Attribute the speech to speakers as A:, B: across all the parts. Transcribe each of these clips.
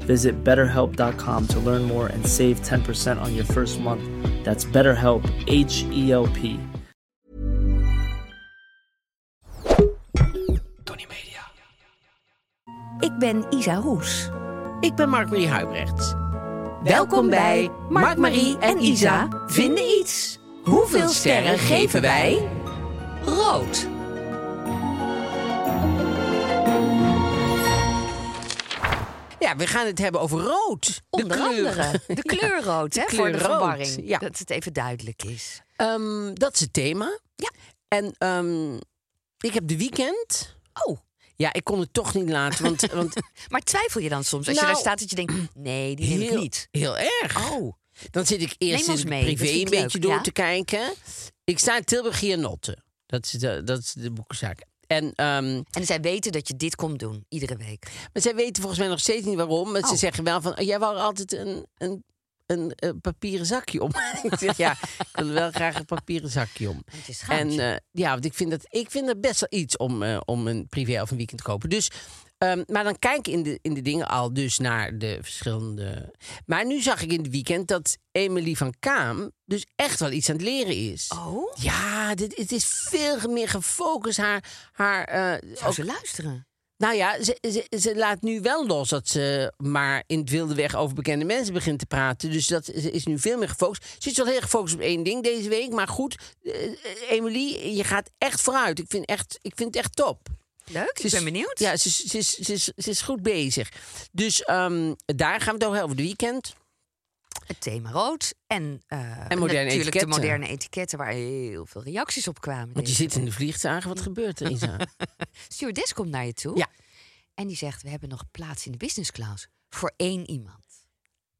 A: Visit betterhelp.com to learn more and save 10% on your first month. That's BetterHelp, H E L P.
B: Ik ben Isa Roes.
C: Ik ben Mark-Marie Huibrecht.
B: Welkom bij Mark, Marie en Isa vinden iets. Hoeveel sterren geven wij? Rood.
C: Ja, we gaan het hebben over rood. De
B: Onder
C: kleur.
B: andere de kleur rood, hè,
C: kleur
B: voor de
C: rood,
B: verwarring.
C: ja.
B: Dat het even duidelijk is.
C: Ehm, dat is het thema.
B: Ja.
C: En ehm, ik heb de weekend.
B: Oh,
C: Ja, ik kon het toch niet laten, want, want
B: maar twijfel je dan soms als
C: Nou,
B: je daar staat dat je denkt... Nee, die neem ik
C: heel,
B: niet.
C: heel erg.
B: Oh,
C: Dan zit ik eerst
B: Neem
C: in
B: ons mee, dat
C: privé
B: vind
C: een
B: ik
C: beetje
B: leuk,
C: door
B: ja.
C: te kijken. Ik sta in Tilburg Notte. Dat is de, dat is de boekenzaak. En ehm,
B: en zij weten dat je dit komt doen, iedere week.
C: Maar zij weten volgens mij nog steeds niet waarom. Maar ze
B: Oh.
C: zeggen wel van, jij wou altijd een, een, een, eh, papieren zakje om. ik zeg, ja, ik wil wel graag een papieren zakje om.
B: Het is
C: En
B: gaaf.
C: eh, ja, want ik vind, dat, ik vind dat best wel iets om, eh, om een privé of een weekend te kopen. Dus, ehm, maar dan kijk ik in de, in de dingen al dus naar de verschillende... Maar nu zag ik in het weekend dat Emily van Kaam dus echt wel iets aan het leren is.
B: Oh,
C: Ja, dit, het is veel meer gefocust. Haar, haar, eh,
B: zou ze luisteren?
C: nou ja, ze, ze, ze laat nu wel los dat ze maar in het wilde weg over bekende mensen begint te praten. Dus dat ze is nu veel meer gefocust. Ze is wel heel gefocust op één ding deze week. Maar goed, eh, Emily, je gaat echt vooruit. Ik vind, echt, ik vind het echt top.
B: Leuk,
C: Ze
B: ik
C: is-
B: ben benieuwd.
C: Ja, ze, is- ze, is- ze, is- ze is goed bezig. Dus ehm, daar gaan we het over hebben, over de weekend.
B: Het thema rood. En, eh,
C: moderne
B: natuurlijk
C: etiketten.
B: de moderne etiketten waar heel veel reacties op kwamen.
C: Want je
B: deze
C: zit in
B: week.
C: de vliegtuig. Wat gebeurt er, Isa?
B: stewardess komt naar je toe.
C: Ja.
B: En die zegt, we hebben nog plaats in de business class voor één iemand.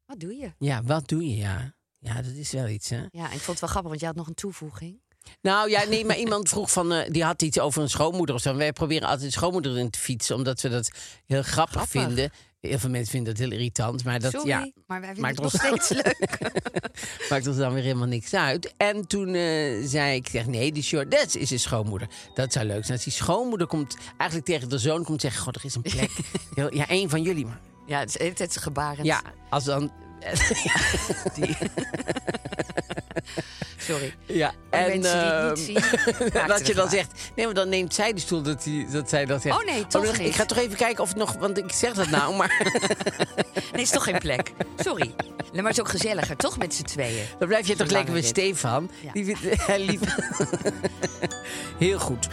B: Wat doe je?
C: Ja, wat doe je? Ja, ja dat is wel iets, hè?
B: Ja, ik vond het wel grappig, want je had nog een toevoeging.
C: Nou ja, nee, maar iemand vroeg van, eh, die had iets over een schoonmoeder of zo. En Wij proberen altijd schoonmoeder in te fietsen, omdat we dat heel grappig,
B: Grappig.
C: vinden. Heel veel mensen vinden dat heel irritant, maar dat
B: Sorry,
C: ja,
B: maar wij vinden
C: maakt
B: het nog
C: ons-
B: steeds leuk.
C: maakt ons dan weer helemaal niks uit. En toen eh, zei ik, zeg, nee, die stewardess is een schoonmoeder. Dat zou leuk zijn. Als die schoonmoeder komt, eigenlijk tegen de zoon komt zeggen, god, er is een plek. Heel- ja, één van jullie maar.
B: Ja, het is de hele tijd gebarend.
C: Ja, als dan...
B: Die- Sorry.
C: Ja,
B: En, mensen die het niet zien,
C: ehm,
B: maakten een
C: dat je
B: gebaar.
C: dan zegt, nee, maar dan neemt zij de stoel dat, die, dat zij dat zegt.
B: Oh, nee, toch
C: dan- Ik
B: niet.
C: ga toch even kijken of het nog, want ik zeg dat nou, maar
B: Nee, is toch geen plek. Sorry. Nee, maar het is ook gezelliger, toch met z'n tweeën?
C: dan blijf je toch
B: Zolang
C: lekker
B: we
C: met
B: dit-
C: Stefan.
B: Ja.
C: Die vindt, hij liep. Heel goed.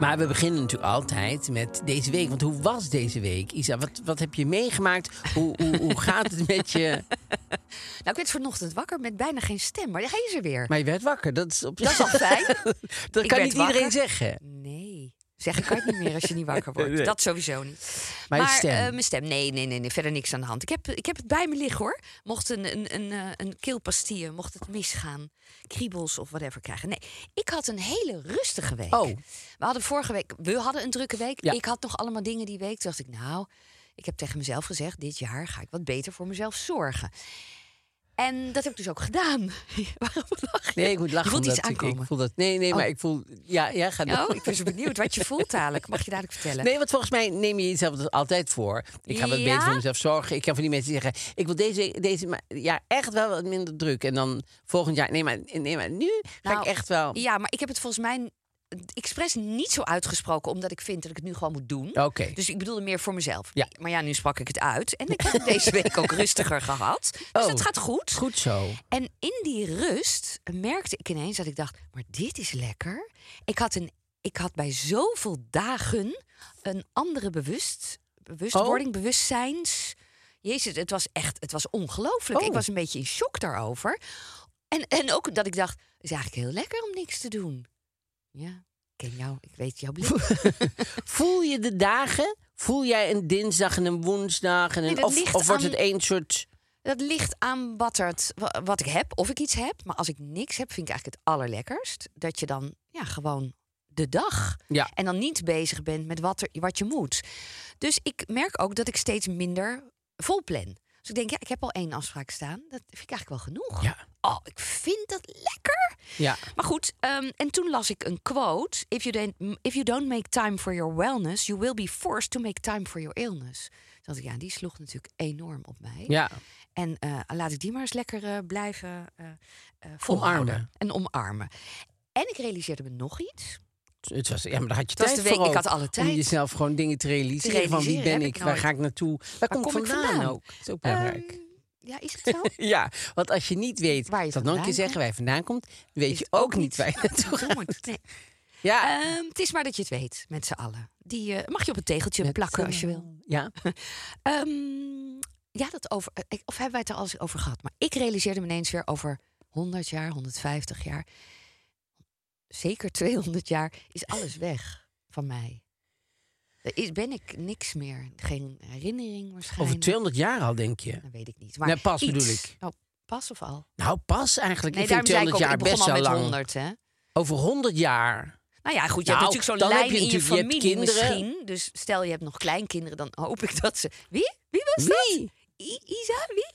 C: Maar we beginnen natuurlijk altijd met deze week. Want hoe was deze week, Isa? Wat, wat heb je meegemaakt? Hoe, hoe, hoe gaat het met je?
B: Nou, ik werd vanochtend wakker met bijna geen stem, maar hij is er weer.
C: Maar je werd wakker. Dat is, op...
B: Dat is al fijn.
C: Dat
B: Ik
C: kan
B: werd
C: niet iedereen
B: wakker.
C: zeggen.
B: Nee. Zeg ik het niet meer als je niet wakker wordt.
C: Nee.
B: Dat sowieso niet.
C: Maar je stem?
B: eh, mijn stem. Nee, nee, nee, nee. Verder niks aan de hand. Ik heb, ik heb het bij me liggen hoor. Mocht een, een, een, eh, een keelpastille, mocht het misgaan, kriebels of whatever krijgen. Nee, ik had een hele rustige week.
C: Oh.
B: We hadden vorige week, we hadden een drukke week.
C: Ja.
B: Ik had nog allemaal dingen die week. Toen dacht ik, nou, ik heb tegen mezelf gezegd, dit jaar ga ik wat beter voor mezelf zorgen. En dat heb ik dus ook gedaan. Waarom lach je?
C: Nee, ik moet lachen.
B: Je voelt iets
C: omdat ik-
B: aankomen.
C: Ik, voel dat. Nee, nee, maar
B: Oh.
C: ik voel. Ja, ja, ga door. dus
B: Oh, ik ben zo benieuwd wat je voelt dadelijk. Mag je dadelijk vertellen?
C: Nee, want volgens mij neem je jezelf dat altijd voor. Ik ga wat
B: Ja?
C: beter voor mezelf zorgen. Ik kan van die mensen die zeggen: ik wil deze, week- deze ma- jaar echt wel wat minder druk. En dan volgend jaar, nee, maar, nee, maar nu ga
B: Nou,
C: ik echt wel.
B: Ja, maar ik heb het volgens mij expres niet zo uitgesproken, omdat ik vind dat ik het nu gewoon moet doen.
C: Oké.
B: Dus ik bedoelde meer voor mezelf.
C: Ja.
B: Maar ja, nu sprak ik het uit. En ik heb het deze week ook rustiger gehad. Dus
C: Oh.
B: dat gaat goed.
C: Goed zo.
B: En in die rust merkte ik ineens dat ik dacht: maar dit is lekker. Ik had, een, ik had bij zoveel dagen een andere bewust, bewustwording, bewustzijns. Jezus, het was echt, het was ongelooflijk.
C: Oh.
B: Ik was een beetje in shock daarover. En, en ook dat ik dacht: het is eigenlijk heel lekker om niks te doen. Ja, ik ken jou, ik weet jouw blik.
C: Voel je de dagen? Voel jij een dinsdag en een woensdag? En een,
B: Nee, dat
C: of,
B: ligt
C: of wordt
B: aan-
C: het één soort...
B: Dat ligt aan wat, er het- wa- wat ik heb, of ik iets heb. Maar als ik niks heb, vind ik eigenlijk het allerlekkerst. Dat je dan ja, gewoon de dag.
C: Ja.
B: En dan niet bezig bent met wat, er, wat je moet. Dus ik merk ook dat ik steeds minder vol plan. Dus ik denk, ja, ik heb al één afspraak staan. Dat vind ik eigenlijk wel genoeg.
C: Ja.
B: Oh, ik vind dat lekker.
C: Ja.
B: Maar goed, ehm, en toen las ik een quote. If you, don't, if you don't make time for your wellness, you will be forced to make time for your illness. Dus dacht ik, ja, die sloeg natuurlijk enorm op mij.
C: Ja.
B: En eh, laat ik die maar eens lekker eh, blijven eh eh, volhouden.
C: Omarmen.
B: En omarmen. En ik realiseerde me nog iets.
C: Het was, ja, maar daar had je
B: Het was
C: tijd
B: de week,
C: voor
B: ik
C: ook,
B: had alle
C: Om
B: tijd.
C: jezelf gewoon dingen te realiseren. van wie
B: realiseren
C: ben
B: heb
C: ik,
B: ik
C: waar
B: nooit.
C: ga ik naartoe, waar, kom, ik vandaan, ook. Dat is ook belangrijk.
B: Ehm, ja, is het zo?
C: ja, want als je niet weet,
B: Waar je
C: dat nog een
B: vandaan
C: keer
B: komt.
C: zeggen, waar je vandaan komt, weet
B: Is
C: je
B: het
C: ook, niet waar je naartoe
B: Zo
C: gaat.
B: moet- nee.
C: Ja,
B: Ehm, het is maar dat je het weet, met z'n allen. Die eh, mag je op een tegeltje
C: Met,
B: plakken
C: eh,
B: als je wil.
C: Ja,
B: Ehm, ja, dat over. eh, ik- Of hebben wij het er al eens over gehad? Maar ik realiseerde me ineens weer over 100 jaar, 150 jaar. Zeker 200 jaar is alles weg van mij. Er is, ben ik niks meer. Geen herinnering waarschijnlijk.
C: over 200 jaar al, denk je.
B: Dat weet ik niet. Maar
C: Nee, pas
B: iets.
C: bedoel ik.
B: Oh, pas of al?
C: Nou, pas eigenlijk.
B: Nee,
C: ik vind
B: daarom zei ik
C: 200
B: ook,
C: jaar
B: ik begon
C: best
B: al
C: wel
B: met
C: lang.
B: 100, hè?
C: Over 100 jaar.
B: Nou ja, goed, je
C: Nou,
B: hebt natuurlijk
C: dan
B: zo'n
C: heb
B: lijn
C: je
B: in je
C: natuurlijk- je hebt
B: familie
C: kinderen.
B: misschien. Dus stel je hebt nog kleinkinderen, dan hoop ik dat ze... Wie? Wie was
C: Wie?
B: dat? I- Isa? Wie?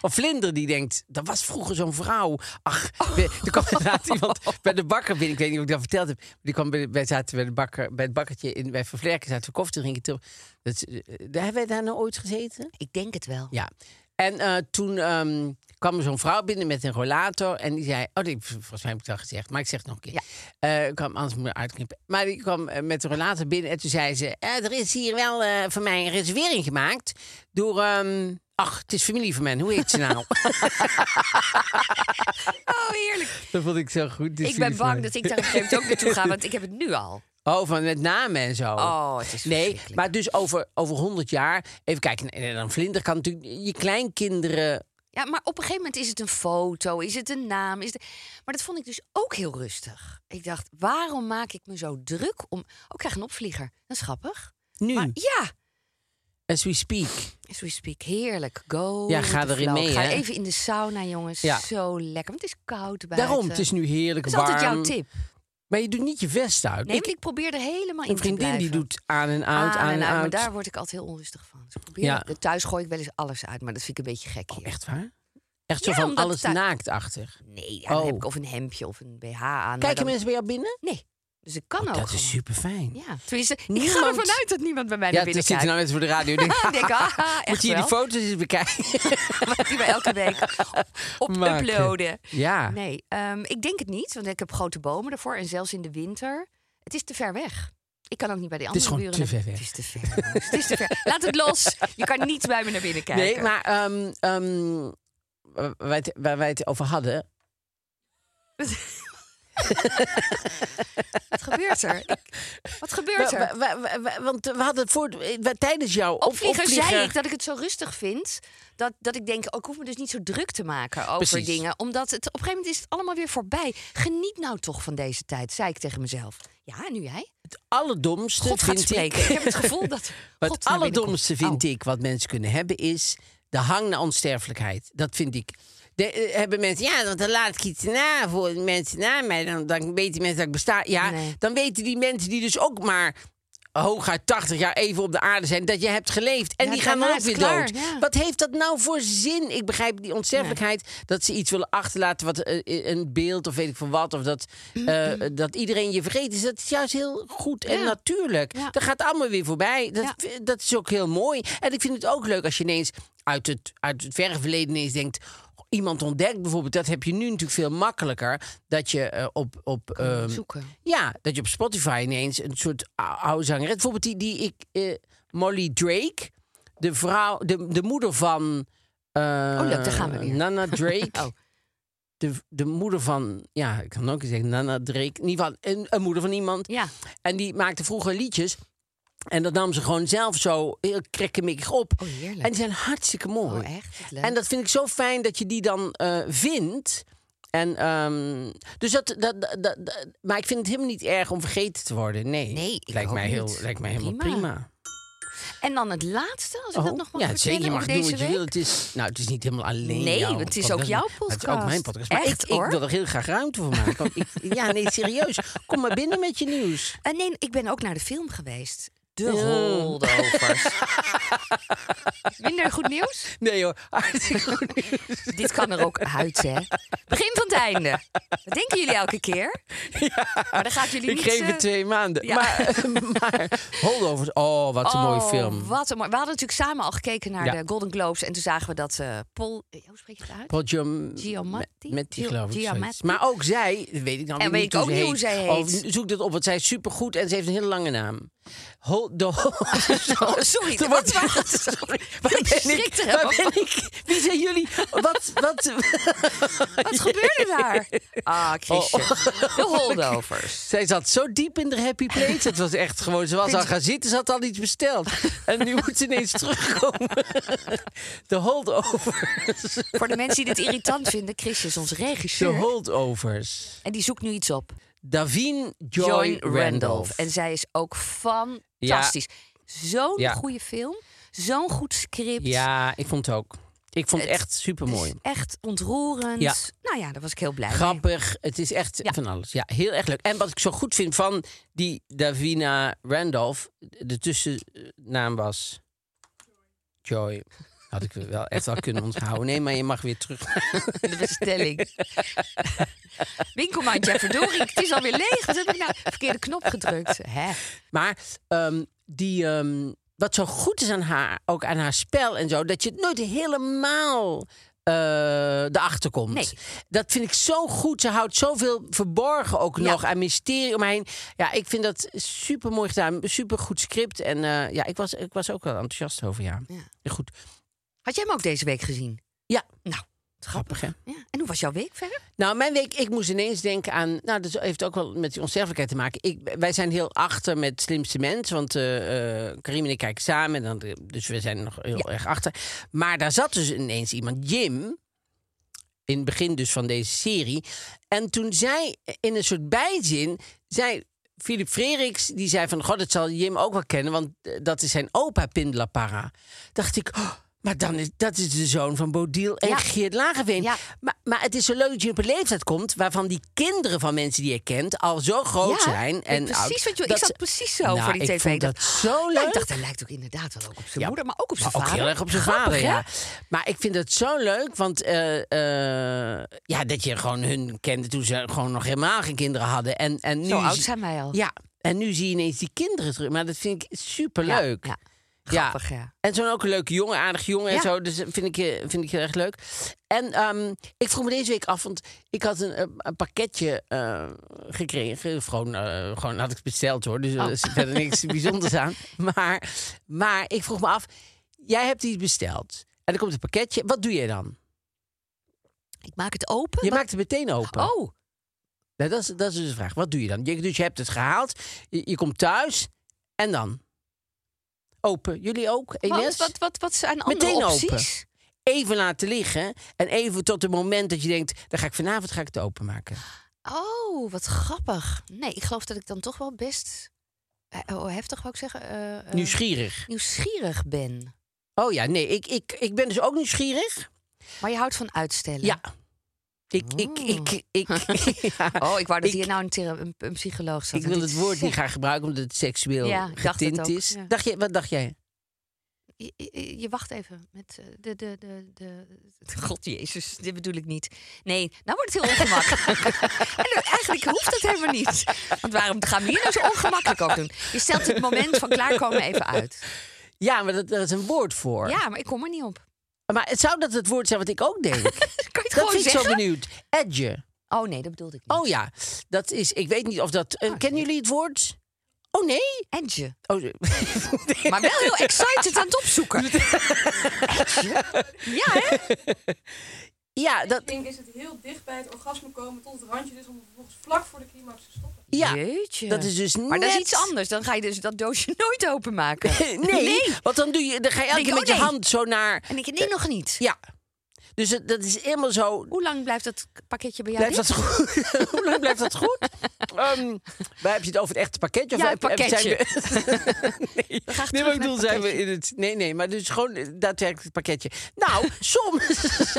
C: Of Vlinder die denkt, dat was vroeger zo'n vrouw. Ach, we- er kwam inderdaad
B: Oh.
C: iemand bij de bakker binnen. Ik weet niet of ik dat verteld heb. Maar Die kwam bij, wij zaten bij, de bakker, bij het bakkertje in, bij Vervlerken. Zaten we koffie te drinken. Toen- Dat, is, eh, hebben wij daar nou ooit gezeten?
B: Ik denk het wel.
C: Ja. En eh, toen ehm, kwam er zo'n vrouw binnen met een rollator. En die zei... Oh, nee, volgens mij heb ik het al gezegd. Maar ik zeg het nog een keer. Eh, ik kwam, anders moet ik uitknippen. Maar die kwam eh, met een rollator binnen. En toen zei ze... eh, er is hier wel eh voor mij een reservering gemaakt. Door... ehm, ach, het is familie van mij. Hoe heet ze nou?
B: Oh, heerlijk.
C: dat vond ik zo goed.
B: Ik ben bang dat ik daar op een gegeven moment ook naartoe ga, want ik heb het nu al.
C: Oh, van met namen en zo.
B: Oh, het is
C: Nee,
B: verschrikkelijk.
C: maar dus over, over 100 jaar. Even kijken, en dan Vlinder kan natuurlijk je kleinkinderen.
B: Ja, maar op een gegeven moment is het een foto, is het een naam. Is het... Maar dat vond ik dus ook heel rustig. Ik dacht, waarom maak ik me zo druk om... Oh, ik krijg een opvlieger. Dat is grappig.
C: Nu,
B: Maar ja,
C: as we speak.
B: as we speak, heerlijk. Go.
C: Ja,
B: with
C: ga
B: the
C: erin
B: flow.
C: mee,
B: Ga
C: hè?
B: even in de sauna, jongens.
C: Ja.
B: Zo lekker, want het is koud buiten.
C: Daarom, het is nu heerlijk
B: Dat is
C: warm.
B: altijd jouw tip.
C: Maar je doet niet je vest uit.
B: Nee,
C: Ik-
B: want ik probeer er helemaal in
C: een
B: te blijven.
C: vriendin die doet aan en uit, aan, en
B: Ah, nou, Maar
C: uit. Oh,
B: daar word ik altijd heel onrustig van. Dus ik probeer
C: Ja. Oh,
B: het- Thuis gooi ik wel eens alles uit, maar dat vind ik een beetje gek hier.
C: Echt waar? Echt zo
B: Ja,
C: van
B: omdat
C: alles
B: daar-
C: naaktachtig.
B: Nee, ja, dan
C: Oh.
B: heb ik of een hemdje of een BH aan. maar
C: Kijken
B: dan-
C: mensen bij jou binnen?
B: Nee, dus ik kan ook
C: Oh, dat is
B: gewoon.
C: super fijn.
B: Ja, tenminste, ik ga
C: Niemand-
B: ervan uit dat niemand bij mij
C: Ja,
B: naar
C: er
B: binnen
C: zitten
B: kijkt.
C: nou mensen voor de radio. die denken,
B: Ik denk, ah,
C: Moet
B: echt
C: je die
B: wel.
C: foto's eens bekijken?
B: Die we elke week op
C: Maken.
B: uploaden.
C: Ja.
B: Nee, ehm, ik denk het niet, want ik heb grote bomen ervoor. En zelfs in de winter, het is te ver weg. Ik kan ook niet bij de
C: is
B: andere
C: gewoon
B: buren.
C: te
B: naar-
C: ver weg.
B: Het is te ver. jongens. het is te ver. Laat het los. Je kan niet bij me naar binnen kijken.
C: Nee, maar ehm, ehm, waar, wij het, waar wij het over hadden.
B: Wat gebeurt er? Ik- wat gebeurt er?
C: Wa- wa- wa- wa- want we hadden voor, eh, wa- tijdens jouw op-
B: Opvlieger, zei
C: opvlieger-
B: ik dat ik het zo rustig vind. Dat, dat ik denk, oh, ik hoef me dus niet zo druk te maken over
C: Precies.
B: dingen. Omdat het, op een gegeven moment is het allemaal weer voorbij. Geniet nou toch van deze tijd, zei ik tegen mezelf. Ja, en nu jij.
C: Het allerdomste
B: God gaat
C: vind
B: spreken. Ik.
C: ik...
B: heb het gevoel dat
C: Wat
B: God
C: het
B: naar binnen
C: allerdomste
B: komt.
C: vind
B: Oh.
C: ik wat mensen kunnen hebben is de hang naar onsterfelijkheid. Dat vind ik. De, eh, hebben mensen, ja, want dan laat ik iets na voor mensen na mij. Dan, dan weten mensen dat ik besta. Ja,
B: Nee.
C: dan weten die mensen die dus ook maar hooguit 80 jaar even op de aarde zijn, dat je hebt geleefd. En
B: Ja,
C: die gaan dan
B: daarna
C: ook
B: is
C: weer
B: het klaar,
C: dood.
B: ja.
C: Wat heeft dat nou voor zin? Ik begrijp die onsterfelijkheid, dat ze iets willen achterlaten, wat, eh, een beeld of weet ik van wat, of dat, eh, dat iedereen je vergeet. Is dat is juist heel goed en
B: Ja.
C: natuurlijk.
B: Ja.
C: Dat gaat allemaal weer voorbij. Dat,
B: Ja.
C: v- dat is ook heel mooi. En ik vind het ook leuk als je ineens uit het, uit het verre verleden ineens denkt... iemand ontdekt bijvoorbeeld, dat heb je nu natuurlijk veel makkelijker. Dat je eh, op, op, ehm,
B: zoeken.
C: ja, dat je op Spotify ineens een soort ou- oude zangeres... Bijvoorbeeld die, die ik, eh, Molly Drake, de, vrouw, de, de moeder van... eh,
B: Oh, leuk, daar gaan we weer.
C: Nana Drake.
B: Oh.
C: de, de moeder van, ja, ik kan ook zeggen, Nana Drake. In ieder geval een, een moeder van iemand.
B: Ja.
C: En die maakte vroeger liedjes. En dat nam ze gewoon zelf zo heel krekkemikkig op.
B: Oh, heerlijk.
C: En die zijn hartstikke mooi.
B: Oh, echt? Wat leuk.
C: En dat vind ik zo fijn dat je die dan eh, vindt. En, ehm, dus dat, dat, dat, dat- maar ik vind het helemaal niet erg om vergeten te worden. Nee,
B: Nee, ik
C: lijkt,
B: ook
C: mij
B: niet.
C: Heel, lijkt mij helemaal
B: Prima.
C: prima.
B: En dan het laatste, als ik dat
C: Oh,
B: nog mag
C: ja,
B: vertellen
C: zeker. Je mag
B: over
C: doen
B: deze
C: wat je
B: week.
C: wil. Het is, nou, het is niet helemaal alleen
B: Nee,
C: jouw
B: het is ook jouw
C: maar Het is ook
B: podcast.
C: mijn podcast. Maar
B: Echt,
C: ik, ik
B: hoor.
C: wil er heel graag ruimte voor maken. Want ik, ja, nee, serieus. Kom maar binnen met je nieuws.
B: Eh, nee, ik ben ook naar de film geweest. De
C: Ja.
B: Holdovers. Minder goed nieuws?
C: Nee hoor, hartstikke goed nieuws.
B: Dit kan er ook uit, hè? Begin van het einde. Dat denken jullie elke keer. Maar dan gaat jullie
C: Ik
B: niet...
C: geef
B: eh,
C: het twee maanden.
B: ja.
C: Maar, maar Holdovers, oh, wat een
B: oh,
C: mooie film.
B: Wat een mooi. We hadden natuurlijk samen al gekeken naar
C: Ja.
B: de Golden Globes. En toen zagen we dat eh Paul... eh, Hoe spreek je het uit?
C: Paul Giam-
B: Giamatti?
C: Met die
B: Gio-
C: geloof ik. zoiets.
B: Giamatti.
C: Maar ook zij, dat weet ik dan
B: En
C: weer
B: weet
C: niet
B: ik ook niet hoe zij
C: Oh,
B: heet.
C: zoek dat op, want zij is supergoed en ze heeft een hele lange naam. Hol de
B: Oh, sorry,
C: Dat
B: wat
C: wordt-
B: was het? Sorry.
C: Waar
B: Ik
C: ben
B: schrik
C: ik?
B: er
C: Waar
B: helemaal
C: ben ik? Wie zijn jullie? Wat? wat?
B: Wat gebeurde daar?
C: Oh.
B: Ah, Chrisje. De holdovers.
C: Zij zat zo diep in de happy place. Het was echt gewoon, ze was al gaan zitten, ze had al iets besteld. En nu moet ze ineens terugkomen. De holdovers.
B: Voor de mensen die dit irritant vinden, Chrisje is ons
C: De
B: regisseur.
C: holdovers.
B: En die zoekt nu iets op.
C: Davine Joy, Randolph.
B: En zij is ook fantastisch. Zo'n
C: Ja.
B: goede film. Zo'n goed script.
C: Ja, ik vond het ook. Ik vond het
B: Het
C: echt super
B: Het is
C: mooi.
B: echt ontroerend.
C: Ja.
B: Nou ja, daar was ik heel blij mee.
C: Grappig. Het is echt
B: Ja.
C: van alles. Ja, heel erg leuk. En wat ik zo goed vind van die Davina Randolph, de tussennaam was Joy. Had ik wel echt wel kunnen onthouden. Nee, maar je mag weer terug.
B: De bestelling. Winkelmandje, ja, verdorie. Het is alweer leeg. Wat heb ik nou? Verkeerde knop gedrukt. Hè?
C: Maar ehm, die, ehm, wat zo goed is aan haar, ook aan haar spel en zo, dat je het nooit helemaal eh erachter komt.
B: Nee.
C: Dat vind ik zo goed. Ze houdt zoveel verborgen ook
B: Ja.
C: nog aan mysterie omheen. Ja, ik vind dat super mooi gedaan. Super goed script. En eh, ja, ik was, ik was ook wel enthousiast over, ja.
B: Ja.
C: Goed.
B: Had jij hem ook deze week gezien?
C: Ja,
B: Nou,
C: grappig hè.
B: ja. En hoe was jouw week verder?
C: Nou, mijn week, ik moest ineens denken aan. Nou, dat heeft ook wel met die onsterfelijkheid te maken. Ik, wij zijn heel achter met slimste mens. Want eh, eh, Karim en ik kijken samen. En dan, dus we zijn nog heel erg achter. Maar daar zat dus ineens iemand, Jim. In het begin dus van deze serie. En toen zij in een soort bijzin. zei Philip Freriks, die zei van... God, dat zal Jim ook wel kennen, want eh, dat is zijn opa Pindlapara. Dacht ik, oh, maar dan is, dat is de zoon van Bodil en
B: Ja.
C: Geert Lageveen.
B: Ja.
C: Maar, maar het is zo leuk dat je op een leeftijd komt... waarvan die kinderen van mensen die je kent al zo groot
B: Ja, ik
C: zijn.
B: weet
C: En
B: precies
C: oud,
B: wat je- ik
C: dat
B: zat
C: ze-
B: precies zo
C: Nou,
B: voor die
C: ik
B: tv.
C: vond dat zo leuk.
B: Nou, ik dacht, hij lijkt ook inderdaad wel ook op zijn
C: Ja,
B: moeder, maar ook op zijn
C: Maar
B: vader.
C: Ook heel erg op zijn
B: Grappig,
C: vader,
B: hè?
C: ja. Maar ik vind het zo leuk, want eh, eh, ja, dat je gewoon hun kende toen ze gewoon nog helemaal geen kinderen hadden. En, en nu
B: Zo oud
C: zie-
B: zijn wij al.
C: Ja, en nu zie je ineens die kinderen terug. Maar dat vind ik
B: Ja,
C: superleuk.
B: Ja,
C: Ja.
B: Grappig, ja.
C: En zo'n ook een leuke jongen, aardig jongen
B: Ja.
C: en zo. Dus dat vind ik, eh, vind ik heel erg leuk. En ehm, ik vroeg me deze week af, want ik had een, eh, een pakketje eh, gekregen. Of gewoon, eh, gewoon had ik het besteld hoor. Dus er
B: Oh.
C: is verder niks bijzonders aan. Maar, maar ik vroeg me af, jij hebt iets besteld. En er komt een pakketje. Wat doe jij dan?
B: Ik maak het open.
C: Je maakt het meteen open.
B: Oh,
C: Nou, dat, is, dat is dus de vraag. Wat doe je dan? Je, dus je hebt het gehaald, je, je komt thuis en dan? Open. Jullie ook, E
B: wat,
C: Ines?
B: wat, wat, wat zijn andere
C: Meteen open.
B: opties?
C: Even laten liggen en even tot het moment dat je denkt... dan ga ik vanavond ga ik het openmaken.
B: Oh, wat grappig. Nee, ik geloof dat ik dan toch wel best... eh, Oh, heftig wou ik zeggen. eh, eh,
C: Nieuwsgierig.
B: nieuwsgierig ben.
C: Oh ja, nee, ik, ik, ik ben dus ook nieuwsgierig.
B: Maar je houdt van uitstellen.
C: Ja. Ik, ik, ik, ik... ja.
B: Oh, ik wou dat
C: Ik-
B: hier nou een, thera- een, een psycholoog zat.
C: Ik wil het woord niet
B: gaan.
C: graag gebruiken omdat het seksueel
B: Ja, ik dacht het
C: getint
B: ook,
C: is.
B: ja.
C: Dacht je, wat dacht jij?
B: Je, je- je wacht even met eh, de, de, de, de... God Jezus, dit bedoel ik niet. Nee, nou wordt het heel ongemakkelijk. en dan- eigenlijk hoeft dat helemaal niet. Want waarom gaan we hier nou zo ongemakkelijk over doen? Je stelt het moment van klaarkomen even uit.
C: Ja, maar dat, daar is een woord voor.
B: Ja, maar ik kom er niet op.
C: Maar het zou dat het woord zijn wat ik ook
B: Kan
C: denk.
B: je het
C: dat
B: gewoon
C: vind ik zo
B: zeggen?
C: benieuwd. Edgen.
B: Oh nee, dat bedoelde ik niet.
C: Oh ja, dat is. Ik weet niet of dat.
B: Ah,
C: eh, kennen jullie het woord? Oh nee.
B: Edge.
C: Oh, nee.
B: Maar wel heel excited aan het opzoeken. Edge? Ja, hè?
C: ja, dat,
D: Ik denk is het heel dicht bij het orgasme komen tot het randje dus om vervolgens vlak voor de climax te stoppen.
C: ja.
B: Jeetje.
C: dat is dus
B: Maar dat
C: net-
B: is iets anders. Dan ga je dus dat doosje nooit openmaken.
C: Nee, want dan, doe je, dan ga je elke
B: Denk
C: keer
B: je,
C: met
B: oh,
C: je
B: nee.
C: hand zo naar.
B: En ik nee, nog niet.
C: Ja. Dus het- dat is helemaal zo.
B: Hoe lang blijft dat pakketje bij jou?
C: Blijft dat goed? Hoe lang blijft dat goed? Ehm, maar heb je het over het echte pakketje? Of
B: Ja,
C: heb-
B: het
C: heb- zijn
B: pakketje.
C: we- nee,
B: We gaan
C: nee
B: terug
C: maar
B: naar
C: ik bedoel,
B: het
C: zijn we
B: pakketje.
C: in het... Nee, nee, maar dus gewoon eh, daadwerkelijk het pakketje. Nou, soms...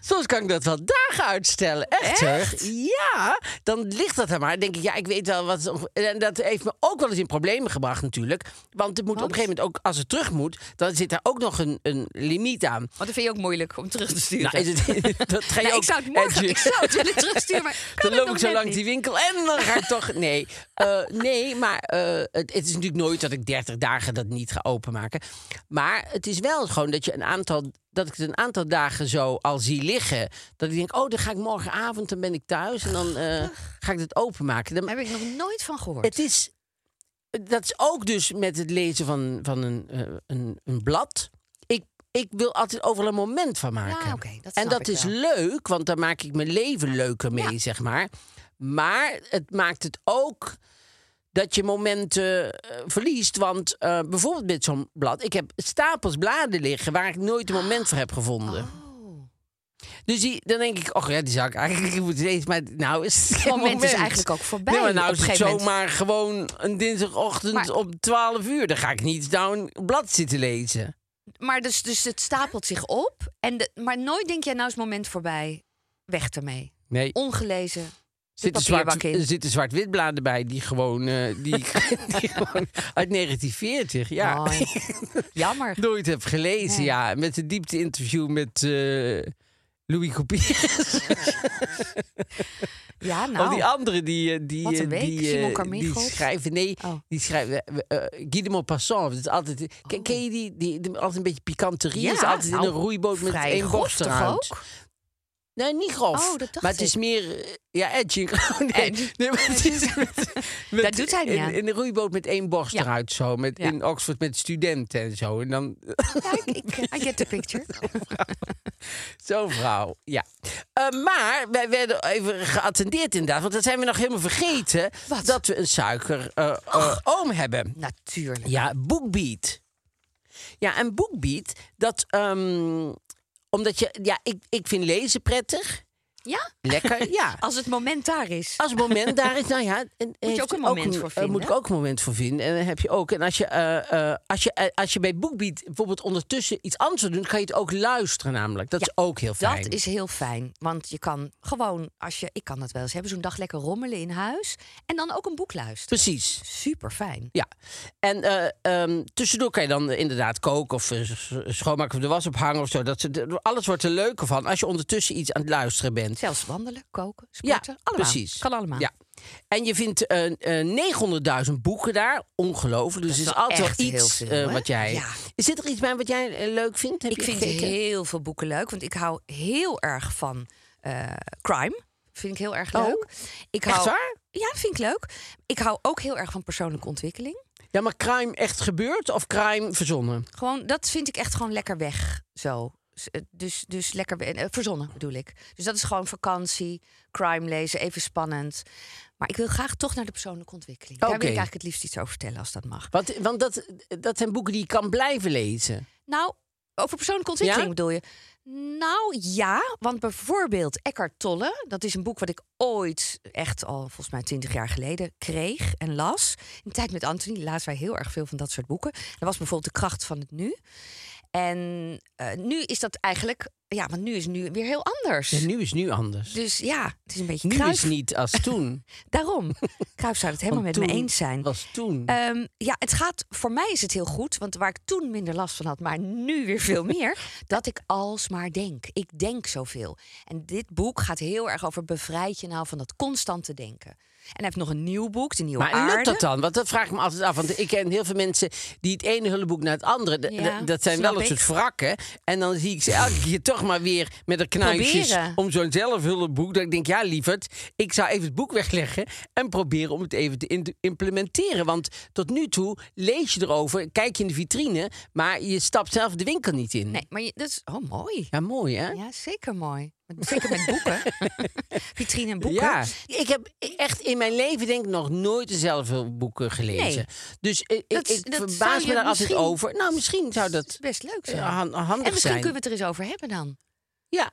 C: soms kan ik dat wel dagen uitstellen. Echt, Echt? Ja, dan ligt dat er maar. Dan denk ik, ja, ik weet wel wat... En dat heeft me ook wel eens in problemen gebracht natuurlijk. Want het moet op een gegeven moment ook, als het terug moet... dan zit daar ook nog een, een limiet aan.
B: Want dat vind je ook moeilijk om terug te sturen.
C: Nou, is het, dat ga je
B: Nou,
C: ook...
B: ik zou het morgen,
C: edgy.
B: ik zou het willen terugsturen, maar kan
C: Dan
B: het
C: loop
B: nog
C: ik zo
B: net
C: langs
B: niet.
C: die winkel en dan ga ik toch... Nee, Eh, nee maar eh, het, het is natuurlijk nooit dat ik 30 dagen dat niet ga openmaken. Maar het is wel gewoon dat, je een aantal, dat ik het een aantal dagen zo al zie liggen. Dat ik denk, oh, dan ga ik morgenavond, dan ben ik thuis en dan eh, ga ik dat openmaken. Dan,
B: Daar heb ik nog nooit van gehoord.
C: het is... Dat is ook dus met het lezen van, van een, eh, een, een blad. Ik, ik wil altijd overal een moment van maken.
B: Ja, oké, dat
C: en
B: snap
C: dat
B: ik
C: is
B: wel.
C: leuk, want daar maak ik mijn leven leuker mee, zeg maar. Maar het maakt het ook dat je momenten eh, verliest. Want eh, bijvoorbeeld met zo'n blad, ik heb stapels bladen liggen waar ik nooit een moment voor heb
B: Oh.
C: gevonden. Dus die, dan denk ik, oh ja, die zou ik eigenlijk moeten lezen. Maar nou is het geen
B: moment is eigenlijk ook voorbij
C: Nee, maar nou
B: op
C: is
B: een
C: het
B: gegeven moment.
C: zomaar gewoon een dinsdagochtend
B: Maar-
C: om 12 uur. Dan ga ik niet down een blad zitten lezen.
B: Maar dus, dus het stapelt zich op. En de- maar nooit denk jij, nou is het moment voorbij. Weg ermee.
C: Nee,
B: Ongelezen.
C: zit een
B: papierbak
C: zwart-
B: in.
C: er zitten zwart-wit bladen bij die gewoon, eh, die, die gewoon uit 1940, ja.
B: Mooi. Jammer.
C: Nooit heb gelezen,
B: Nee.
C: ja. Met een diepte-interview met eh, Louis Coupiers.
B: Ja,
C: Al die
B: nou.
C: anderen die, eh, die,
B: Wat een
C: eh,
B: week.
C: die,
B: Simon
C: eh, die
B: Carmichael.
C: schrijven. Nee,
B: Oh.
C: die schrijven. eh, eh, Guy de Maupassant. Dat is altijd, ken, ken je die, die, die- Altijd een beetje pikanterie.
B: Ja,
C: is altijd
B: nou,
C: in een roeiboot met
B: vrij
C: één
B: grof
C: bocht
B: toch
C: eruit.
B: ook?
C: Nee, niet grof.
B: Oh, dat dacht
C: maar het
B: ik.
C: is meer. eh, Ja, edgy. Nee,
B: Edgy.
C: nee, maar het is met- met-
B: Dat doet hij niet
C: in,
B: aan.
C: in een roeiboot met één bocht
B: Ja.
C: eruit. Zo, met,
B: Ja.
C: In Oxford met studenten en zo. En dan eh,
B: Ja, ik, ik- I get the picture.
C: Zo'n vrouw, ja. Eh, maar wij werden even geattendeerd inderdaad. Want dat zijn we nog helemaal vergeten.
B: Wat?
C: Dat we een suikeroom oom hebben.
B: Natuurlijk.
C: Ja, boekbeat. Ja, en boekbeat, dat... ehm, omdat je... Ja, ik, ik vind lezen prettig.
B: Ja?
C: Lekker, ja.
B: Als het moment daar is.
C: Als het moment daar is, nou ja... en- heeft
B: ook een
C: er
B: moment voor
C: eh,
B: vinden.
C: Moet ik ook een moment voor vinden. En dan heb je ook... En als je, eh, eh, als je, eh, als je bij BookBeat bijvoorbeeld ondertussen iets anders wil doen... kan je het ook luisteren namelijk. Dat is ook heel fijn.
B: Dat is heel fijn. Want je kan gewoon, als je, ik kan dat wel eens hebben, zo'n dag lekker rommelen in huis. En dan ook een boek luisteren.
C: Precies.
B: Super fijn.
C: Ja, en eh, ehm, tussendoor kan je dan eh, inderdaad koken of eh, s- schoonmaken of de was ophangen of zo. Dat, ze- de- alles wordt er leuker van als je ondertussen iets aan het luisteren bent.
B: Zelfs wandelen, koken,
C: Ja,
B: sporten. allemaal.
C: precies.
B: Kan allemaal.
C: Ja. En je vindt eh, eh, 900.000 boeken daar. Ongelooflijk. Dus
B: Dat
C: er
B: is wel
C: is altijd
B: echt
C: wel
B: heel
C: iets
B: veel,
C: eh,
B: hè?
C: wat jij...
B: Ja.
C: Is dit er iets bij wat jij eh, leuk vindt? Heb
B: Ik
C: je
B: vind
C: gekeken?
B: heel veel boeken leuk, want ik hou heel erg van eh, crime. Vind ik heel erg
C: Oh,
B: leuk. ik
C: echt
B: hou,
C: waar?
B: Ja, dat vind ik leuk. Ik hou ook heel erg van persoonlijke ontwikkeling.
C: Ja, maar crime echt gebeurd of crime verzonnen?
B: Gewoon, dat vind ik echt gewoon lekker weg. Zo. S- eh, Dus, dus lekker we- eh, verzonnen bedoel ik. Dus dat is gewoon vakantie, crime lezen, even spannend. Maar ik wil graag toch naar de persoonlijke ontwikkeling. Daar
C: Oké.
B: wil ik eigenlijk het liefst iets over vertellen als dat mag.
C: Want, want dat, dat zijn boeken die je kan blijven lezen.
B: Nou, over persoonlijke ontwikkeling
C: Ja?
B: bedoel je? Nou ja, want bijvoorbeeld Eckhart Tolle, dat is een boek wat ik ooit echt al volgens mij twintig jaar geleden kreeg en las. In de tijd met Anthony lazen wij heel erg veel van dat soort boeken. Dat was bijvoorbeeld De kracht van het nu. En eh, nu is dat eigenlijk, ja, want nu is nu weer heel anders.
C: En nu is nu anders.
B: Dus ja, het is een beetje
C: Nu is
B: kruif.
C: niet als toen.
B: Daarom, Kruif zou het helemaal
C: Want
B: met me
C: toen
B: eens zijn.
C: Was toen.
B: Ehm, ja, het gaat, voor mij is het heel goed, want waar ik toen minder last van had, maar nu weer veel meer, dat ik alsmaar denk. Ik denk zoveel. En dit boek gaat heel erg over bevrijd je nou van dat constante denken. En hij heeft nog een nieuw boek, De Nieuwe
C: Maar
B: Aarde.
C: lukt dat dan? Want dat vraag ik me altijd af. Want ik ken heel veel mensen die het ene hulpboek naar het andere... d-
B: Ja,
C: d- dat zijn wel
B: snap
C: een
B: ik.
C: soort wrakken. En dan zie ik ze elke keer toch maar weer met de knuisjes...
B: Proberen.
C: om zo'n zelfhulpboek. Dat ik denk, ja lieverd, ik zou even het boek wegleggen... en proberen om het even te in- implementeren. Want tot nu toe lees je erover, kijk je in de vitrine... maar je stapt zelf de winkel niet in.
B: Nee, maar je, dat is... Oh, mooi.
C: Ja, mooi hè?
B: Ja, zeker mooi. Met- Zeker met boeken. Vitrine en boeken.
C: Ja, ik heb echt in mijn leven denk ik nog nooit dezelfde boeken gelezen.
B: Nee.
C: Dus eh, ik,
B: Dat-
C: ik
B: dat zou
C: verbaas
B: je
C: me daar altijd
B: misschien-
C: over. Nou, misschien zou dat
B: Best leuk
C: eh,
B: zijn.
C: han-
B: en
C: handig
B: misschien
C: zijn.
B: kunnen we het er eens over hebben dan.
C: Ja,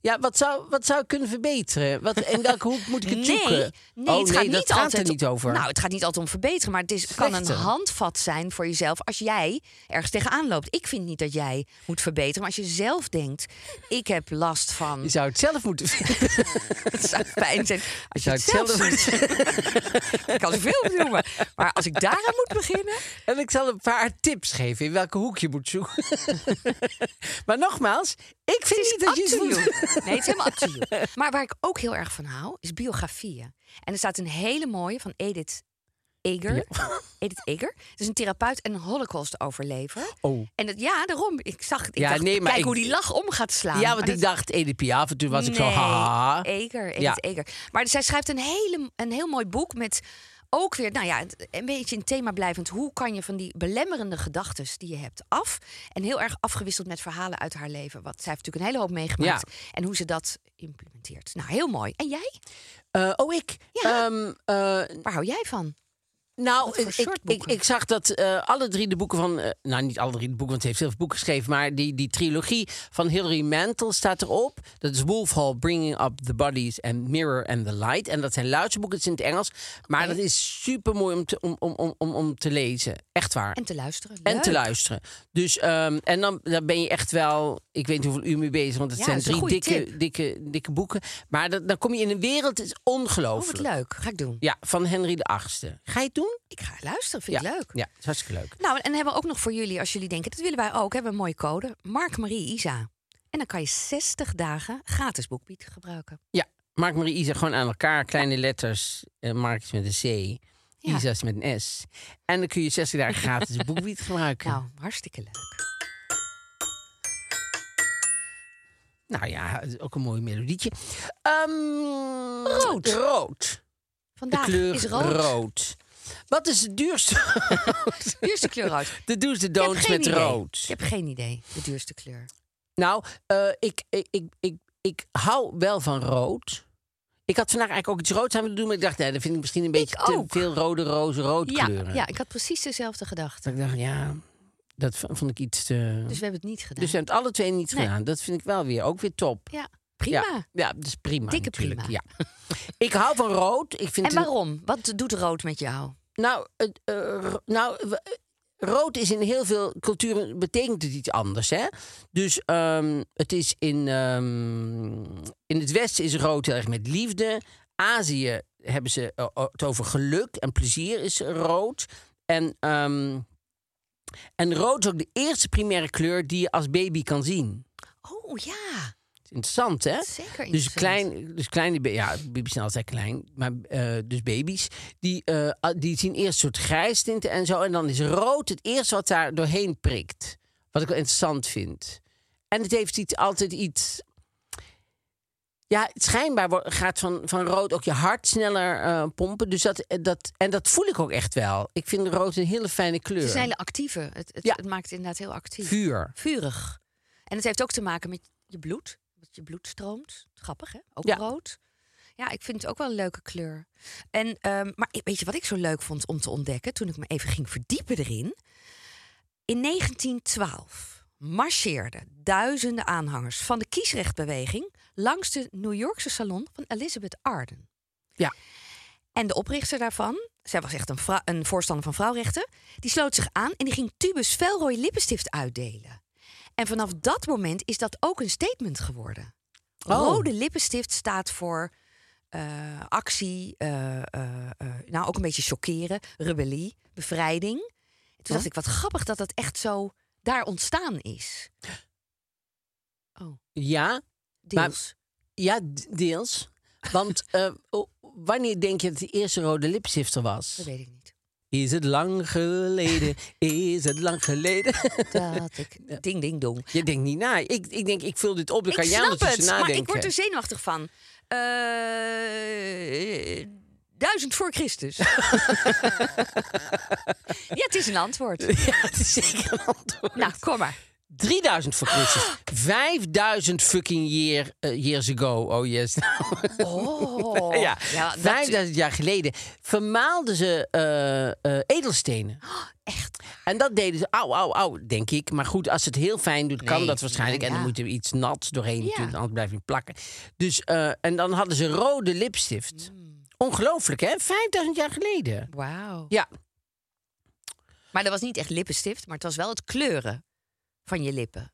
C: ja wat, zou, wat zou ik kunnen verbeteren? Wat, in welke hoek moet ik het
B: nee,
C: zoeken?
B: Nee,
C: Oh,
B: het
C: nee,
B: gaat
C: dat
B: niet
C: gaat er
B: altijd
C: niet over.
B: Nou, het gaat niet altijd om verbeteren, maar het is, kan een
C: Slechter.
B: handvat zijn voor jezelf als jij ergens tegenaan loopt. Ik vind niet dat jij moet verbeteren, maar als je zelf denkt: ik heb last van.
C: Je zou het zelf moeten vinden.
B: Het zou pijn zijn. Als je
C: zou
B: het
C: het
B: zelf doet. ik kan zoveel noemen, maar als ik daaraan moet beginnen.
C: En ik zal een paar tips geven in welke hoek je moet zoeken. maar nogmaals, ik vind niet dat
B: Up
C: je
B: to
C: het
B: you.
C: moet...
B: Nee, het is helemaal up to you. Maar waar ik ook heel erg van hou, is biografieën. En er staat een hele mooie van Edith Eger. Edith Eger. Het is een therapeut en een holocaust-overlever.
C: Oh.
B: En dat, ja, daarom. Ik zag ik
C: Ja,
B: dacht,
C: nee, maar
B: kijk
C: ik-
B: hoe die lach om gaat slaan.
C: Ja,
B: Maar
C: want ik
B: dat-
C: dacht Edith Piaf en toen was ik zo...
B: Nee,
C: haha.
B: Eger, Edith
C: Ja.
B: Eger. Maar zij schrijft een, hele, een heel mooi boek met ook weer, nou ja, het- een beetje een thema blijvend. Hoe kan je van die belemmerende gedachten die je hebt af? En heel erg afgewisseld met verhalen uit haar leven. Want zij heeft natuurlijk een hele hoop meegemaakt. En hoe ze dat implementeert. Nou, heel mooi. En jij?
C: Eh, oh, ik?
B: Ja.
C: Ehm, eh,
B: Waar hou jij van?
C: Nou,
B: Wat voor
C: ik,
B: soort
C: ik, ik,
B: boeken?
C: zag dat eh, alle drie de boeken van... eh, nou, niet alle drie de boeken, want ze heeft heel veel boeken geschreven... maar die, die trilogie van Hilary Mantel staat erop. Dat is Wolf Hall, Bringing Up the Bodies en Mirror and the Light. En dat zijn luisterboeken, het is in het Engels. Maar dat is super mooi om te, om, om, om, om, om te lezen. Echt waar.
B: En te luisteren.
C: En te
B: Leuk.
C: luisteren. Dus, ehm, en dan, dan ben je echt wel, ik weet niet hoeveel uur mee bezig, want het
B: Ja,
C: zijn
B: dat is een
C: drie
B: goede
C: dikke,
B: tip.
C: dikke, dikke boeken. Maar dat, dan kom je in een wereld, het is
B: Oh,
C: ongelooflijk.
B: wat leuk. Ga ik doen.
C: Ja, van Henry de Achtste. Ga je het doen?
B: Ik ga luisteren. Vind
C: ja.
B: ik leuk.
C: Ja, het is hartstikke leuk.
B: Nou, en hebben we ook nog voor jullie, als jullie denken, dat willen wij ook, hebben we een mooie code. Mark Marie Isa. En dan kan je 60 dagen gratis BookBeat gebruiken.
C: Ja, Mark Marie Isa gewoon aan elkaar. Kleine letters. eh Mark is met een C.
B: Ja.
C: Isa is met een S. En dan kun je 60 dagen gratis boekwiet gebruiken.
B: Nou, hartstikke leuk.
C: Nou ja, het is ook een mooi melodietje. Ehm,
B: Rood.
C: Rood. De
B: Vandaag
C: kleur
B: is rood.
C: rood. Wat is het duurste?
B: De duurste kleur rood. Ik
C: de do's, de
B: heb
C: don'ts
B: geen
C: met
B: idee.
C: rood.
B: Ik heb geen idee, de duurste kleur.
C: Nou, eh, ik, ik, ik, ik, ik hou wel van rood. Ik had vandaag eigenlijk ook iets roods aan willen doen, maar ik dacht, nee, dat vind ik misschien een beetje te
B: ook.
C: veel rode rozen, rood
B: Ja,
C: kleuren.
B: ja, ik had precies dezelfde gedachte.
C: Dat ik dacht, ja, dat v- vond ik iets te...
B: Dus
C: Dus,
B: we hebben het niet gedaan.
C: we hebben het alle twee niet
B: Nee.
C: gedaan. Dat vind ik wel weer, ook weer top.
B: Ja, prima.
C: Ja, ja dat is prima
B: Dikke
C: natuurlijk.
B: prima.
C: Ja. ik hou van rood. Ik vind
B: En
C: het-
B: waarom? Wat doet rood met jou?
C: nou, het, eh, ro- nou, w- eh, rood is in heel veel culturen betekent het iets anders, hè? Dus ehm, het is in, ehm, in het Westen is rood heel erg met liefde. Azië hebben ze eh, o- het over geluk en plezier is rood. En, ehm, en rood is ook de eerste primaire kleur die je als baby kan zien.
B: Oh ja,
C: Interessant, hè?
B: zeker
C: Dus,
B: interessant.
C: klein, dus kleine, ba- ja, baby's zijn altijd klein, maar eh, dus baby's, die, eh, ah, die zien eerst een soort grijs tinten en zo. En dan is rood het eerste wat daar doorheen prikt. Wat ik wel interessant vind. En het heeft iets, altijd iets. Ja, schijnbaar wo- gaat van, van rood ook je hart sneller eh, pompen. Dus dat, eh, dat, en dat voel ik ook echt wel. Ik vind rood een hele fijne kleur.
B: Het is een hele actieve. Het, het,
C: Ja.
B: het maakt het inderdaad heel actief.
C: Vuur.
B: vurig. En het heeft ook te maken met je bloed. Dat je bloed stroomt. Grappig, hè? Ook
C: Ja.
B: rood. Ja, ik vind het ook wel een leuke kleur. En, ehm, maar weet je wat ik zo leuk vond om te ontdekken toen ik me even ging verdiepen erin? In 1912 marcheerden duizenden aanhangers van de kiesrechtbeweging langs de New Yorkse salon van Elizabeth Arden.
C: Ja.
B: En de oprichter daarvan, zij was echt een, vrou- een voorstander van vrouwrechten, die sloot zich aan en die ging Tubus felrooi lippenstift uitdelen. En vanaf dat moment is dat ook een statement geworden.
C: Oh.
B: Rode lippenstift staat voor eh, actie, eh, eh, eh, nou ook een beetje chockeren, rebellie, bevrijding. Toen dacht ik, wat grappig dat dat echt zo daar ontstaan is. Oh,
C: Ja,
B: Deels.
C: Ja, d- deels. Want eh, o- wanneer denk je dat de eerste rode lipstifter was?
B: Dat weet ik niet.
C: Is het lang geleden? Is het lang geleden?
B: Dat ik... Ding, ding, dong.
C: Je denkt niet na. Ik, ik denk, ik vul dit op. Dan
B: ik
C: kan jij
B: snap
C: ondertussen
B: het, maar
C: nadenken.
B: ik word er zenuwachtig van. Eh, duizend voor Christus. ja, het is een antwoord.
C: Ja, het is zeker een antwoord.
B: Nou, kom maar.
C: 3000 voor Christus. 5000 fucking year, eh, years ago. Oh yes.
B: Oh.
C: ja,
B: ja dus- dat-
C: 5000 jaar geleden vermaalden ze eh, eh, edelstenen.
B: Oh, echt.
C: En dat deden ze, au, au, au, denk ik. Maar goed, als ze het heel fijn doet, kan
B: Nee,
C: dat waarschijnlijk.
B: ja,
C: En dan
B: ja.
C: moet er iets nats doorheen,
B: Ja.
C: natuurlijk, anders blijft het plakken. Dus, eh, en dan hadden ze rode lipstift.
B: Mm.
C: Ongelooflijk, hè? 5000 jaar geleden.
B: Wauw.
C: Ja,
B: Maar dat was niet echt lippenstift, maar het was wel het kleuren van je lippen.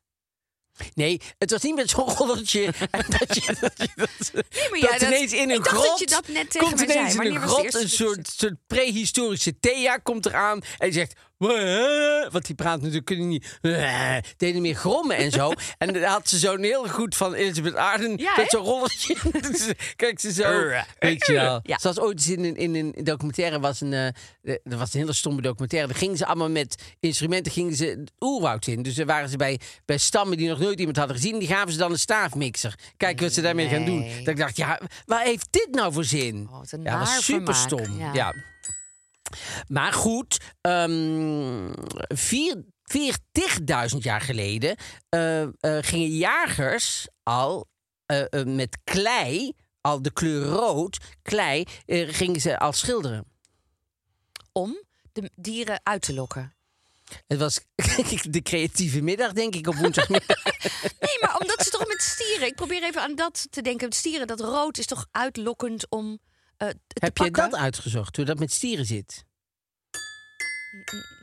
C: nee, het was niet met zo'n roddeltje. en dat je, dat je dat,
B: maar ja,
C: dat
B: dat-
C: ineens in
B: ik
C: een
B: dacht
C: grot.
B: dat je dat net tegen
C: komt
B: mij zei.
C: ineens in
B: Wanneer
C: een
B: was de
C: grot
B: eerste
C: een soort,
B: lippenstift?
C: soort prehistorische Thea komt eraan. En die zegt. "Wah." Want die praat natuurlijk kunnen niet. "Wah." Deden meer grommen en zo. en dan had ze zo'n heel goed van Elizabeth Arden.
B: Ja,
C: met
B: hè?
C: zo'n rolletje. Kijk ze zo. Weet je wel.
B: Ja.
C: Zoals ooit eens in een, in een documentaire was een. eh, eh, dat was een hele stomme documentaire. Daar gingen ze allemaal met instrumenten gingen ze het oerwoud in. Dus daar waren ze bij, bij stammen die nog nooit iemand hadden gezien. Die gaven ze dan een staafmixer. Kijk wat ze daarmee gaan doen.
B: Nee.
C: Dat ik dacht, ja, waar heeft dit nou voor zin?
B: Oh, wat een
C: ja,
B: naar
C: was super stom. Ja.
B: vermaak, ja.
C: Maar goed, ehm vier. 40.000 jaar geleden eh, eh, gingen jagers al eh, eh, met klei, al de kleur rood, klei, eh, gingen ze al schilderen.
B: Om de dieren uit te lokken.
C: Het was de creatieve middag, denk ik, op woensdagmiddag.
B: Nee, maar omdat ze toch met stieren... Ik probeer even aan dat te denken. Met stieren, dat rood is toch uitlokkend om eh, te
C: Heb je
B: pakken?
C: dat uitgezocht, hoe dat met stieren zit?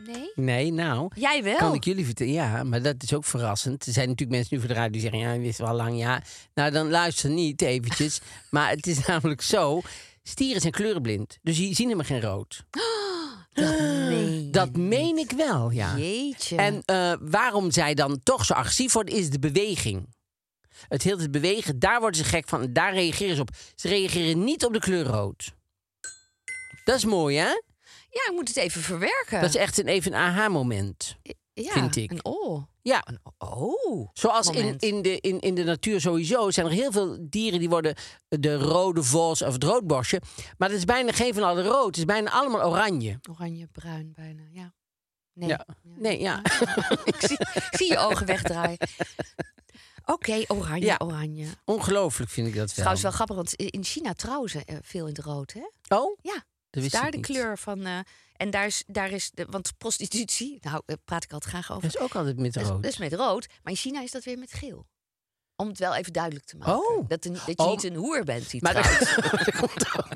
B: Nee?
C: Nee, nou...
B: Jij wel?
C: Kan ik jullie vertellen? Ja, maar dat is ook verrassend. Er zijn natuurlijk mensen nu voor de radio die zeggen: ja, dit is wel lang, ja. Nou, dan luister niet eventjes. maar het is namelijk zo: stieren zijn kleurenblind. Dus die zien helemaal geen rood.
B: Dat meen je
C: Dat
B: niet.
C: meen ik wel, ja.
B: Jeetje.
C: En eh, waarom zij dan toch zo agressief worden, is de beweging. Het hele tijd bewegen, daar worden ze gek van. en Daar reageren ze op. Ze reageren niet op de kleur rood. Dat is mooi, hè?
B: ja, ik moet het even verwerken.
C: Dat is echt een, even een aha-moment.
B: ja,
C: vind ik.
B: Een oh.
C: Ja.
B: Een oh.
C: Zoals in,
B: moment.
C: in, de, in, in de natuur sowieso zijn er heel veel dieren die worden de rode vos of het roodborstje. Maar het is bijna geen van alle rood. Het is bijna allemaal oranje.
B: Oranje, bruin bijna. Ja. Nee.
C: Ja. Nee, ja.
B: ik, zie, ik zie je ogen wegdraaien. Oké, oranje,
C: Ja.
B: oranje. Het
C: Ongelooflijk vind ik dat
B: is
C: wel.
B: trouwens wel grappig, want in China trouwen ze eh, veel in het rood, hè?
C: Oh?
B: Ja,
C: Dat wist
B: daar
C: ik
B: de
C: niet.
B: kleur van. eh, en daar is, daar is de, want prostitutie, nou eh, praat ik altijd graag over.
C: Dat is ook altijd met
B: Dat is-
C: rood.
B: dat is met rood, maar in China is dat weer met geel. Om het wel even duidelijk te maken.
C: Oh.
B: Dat, er niet- dat je
C: Oh.
B: niet een hoer bent die
C: Maar dat,
B: trouwt.
C: dat komt ook.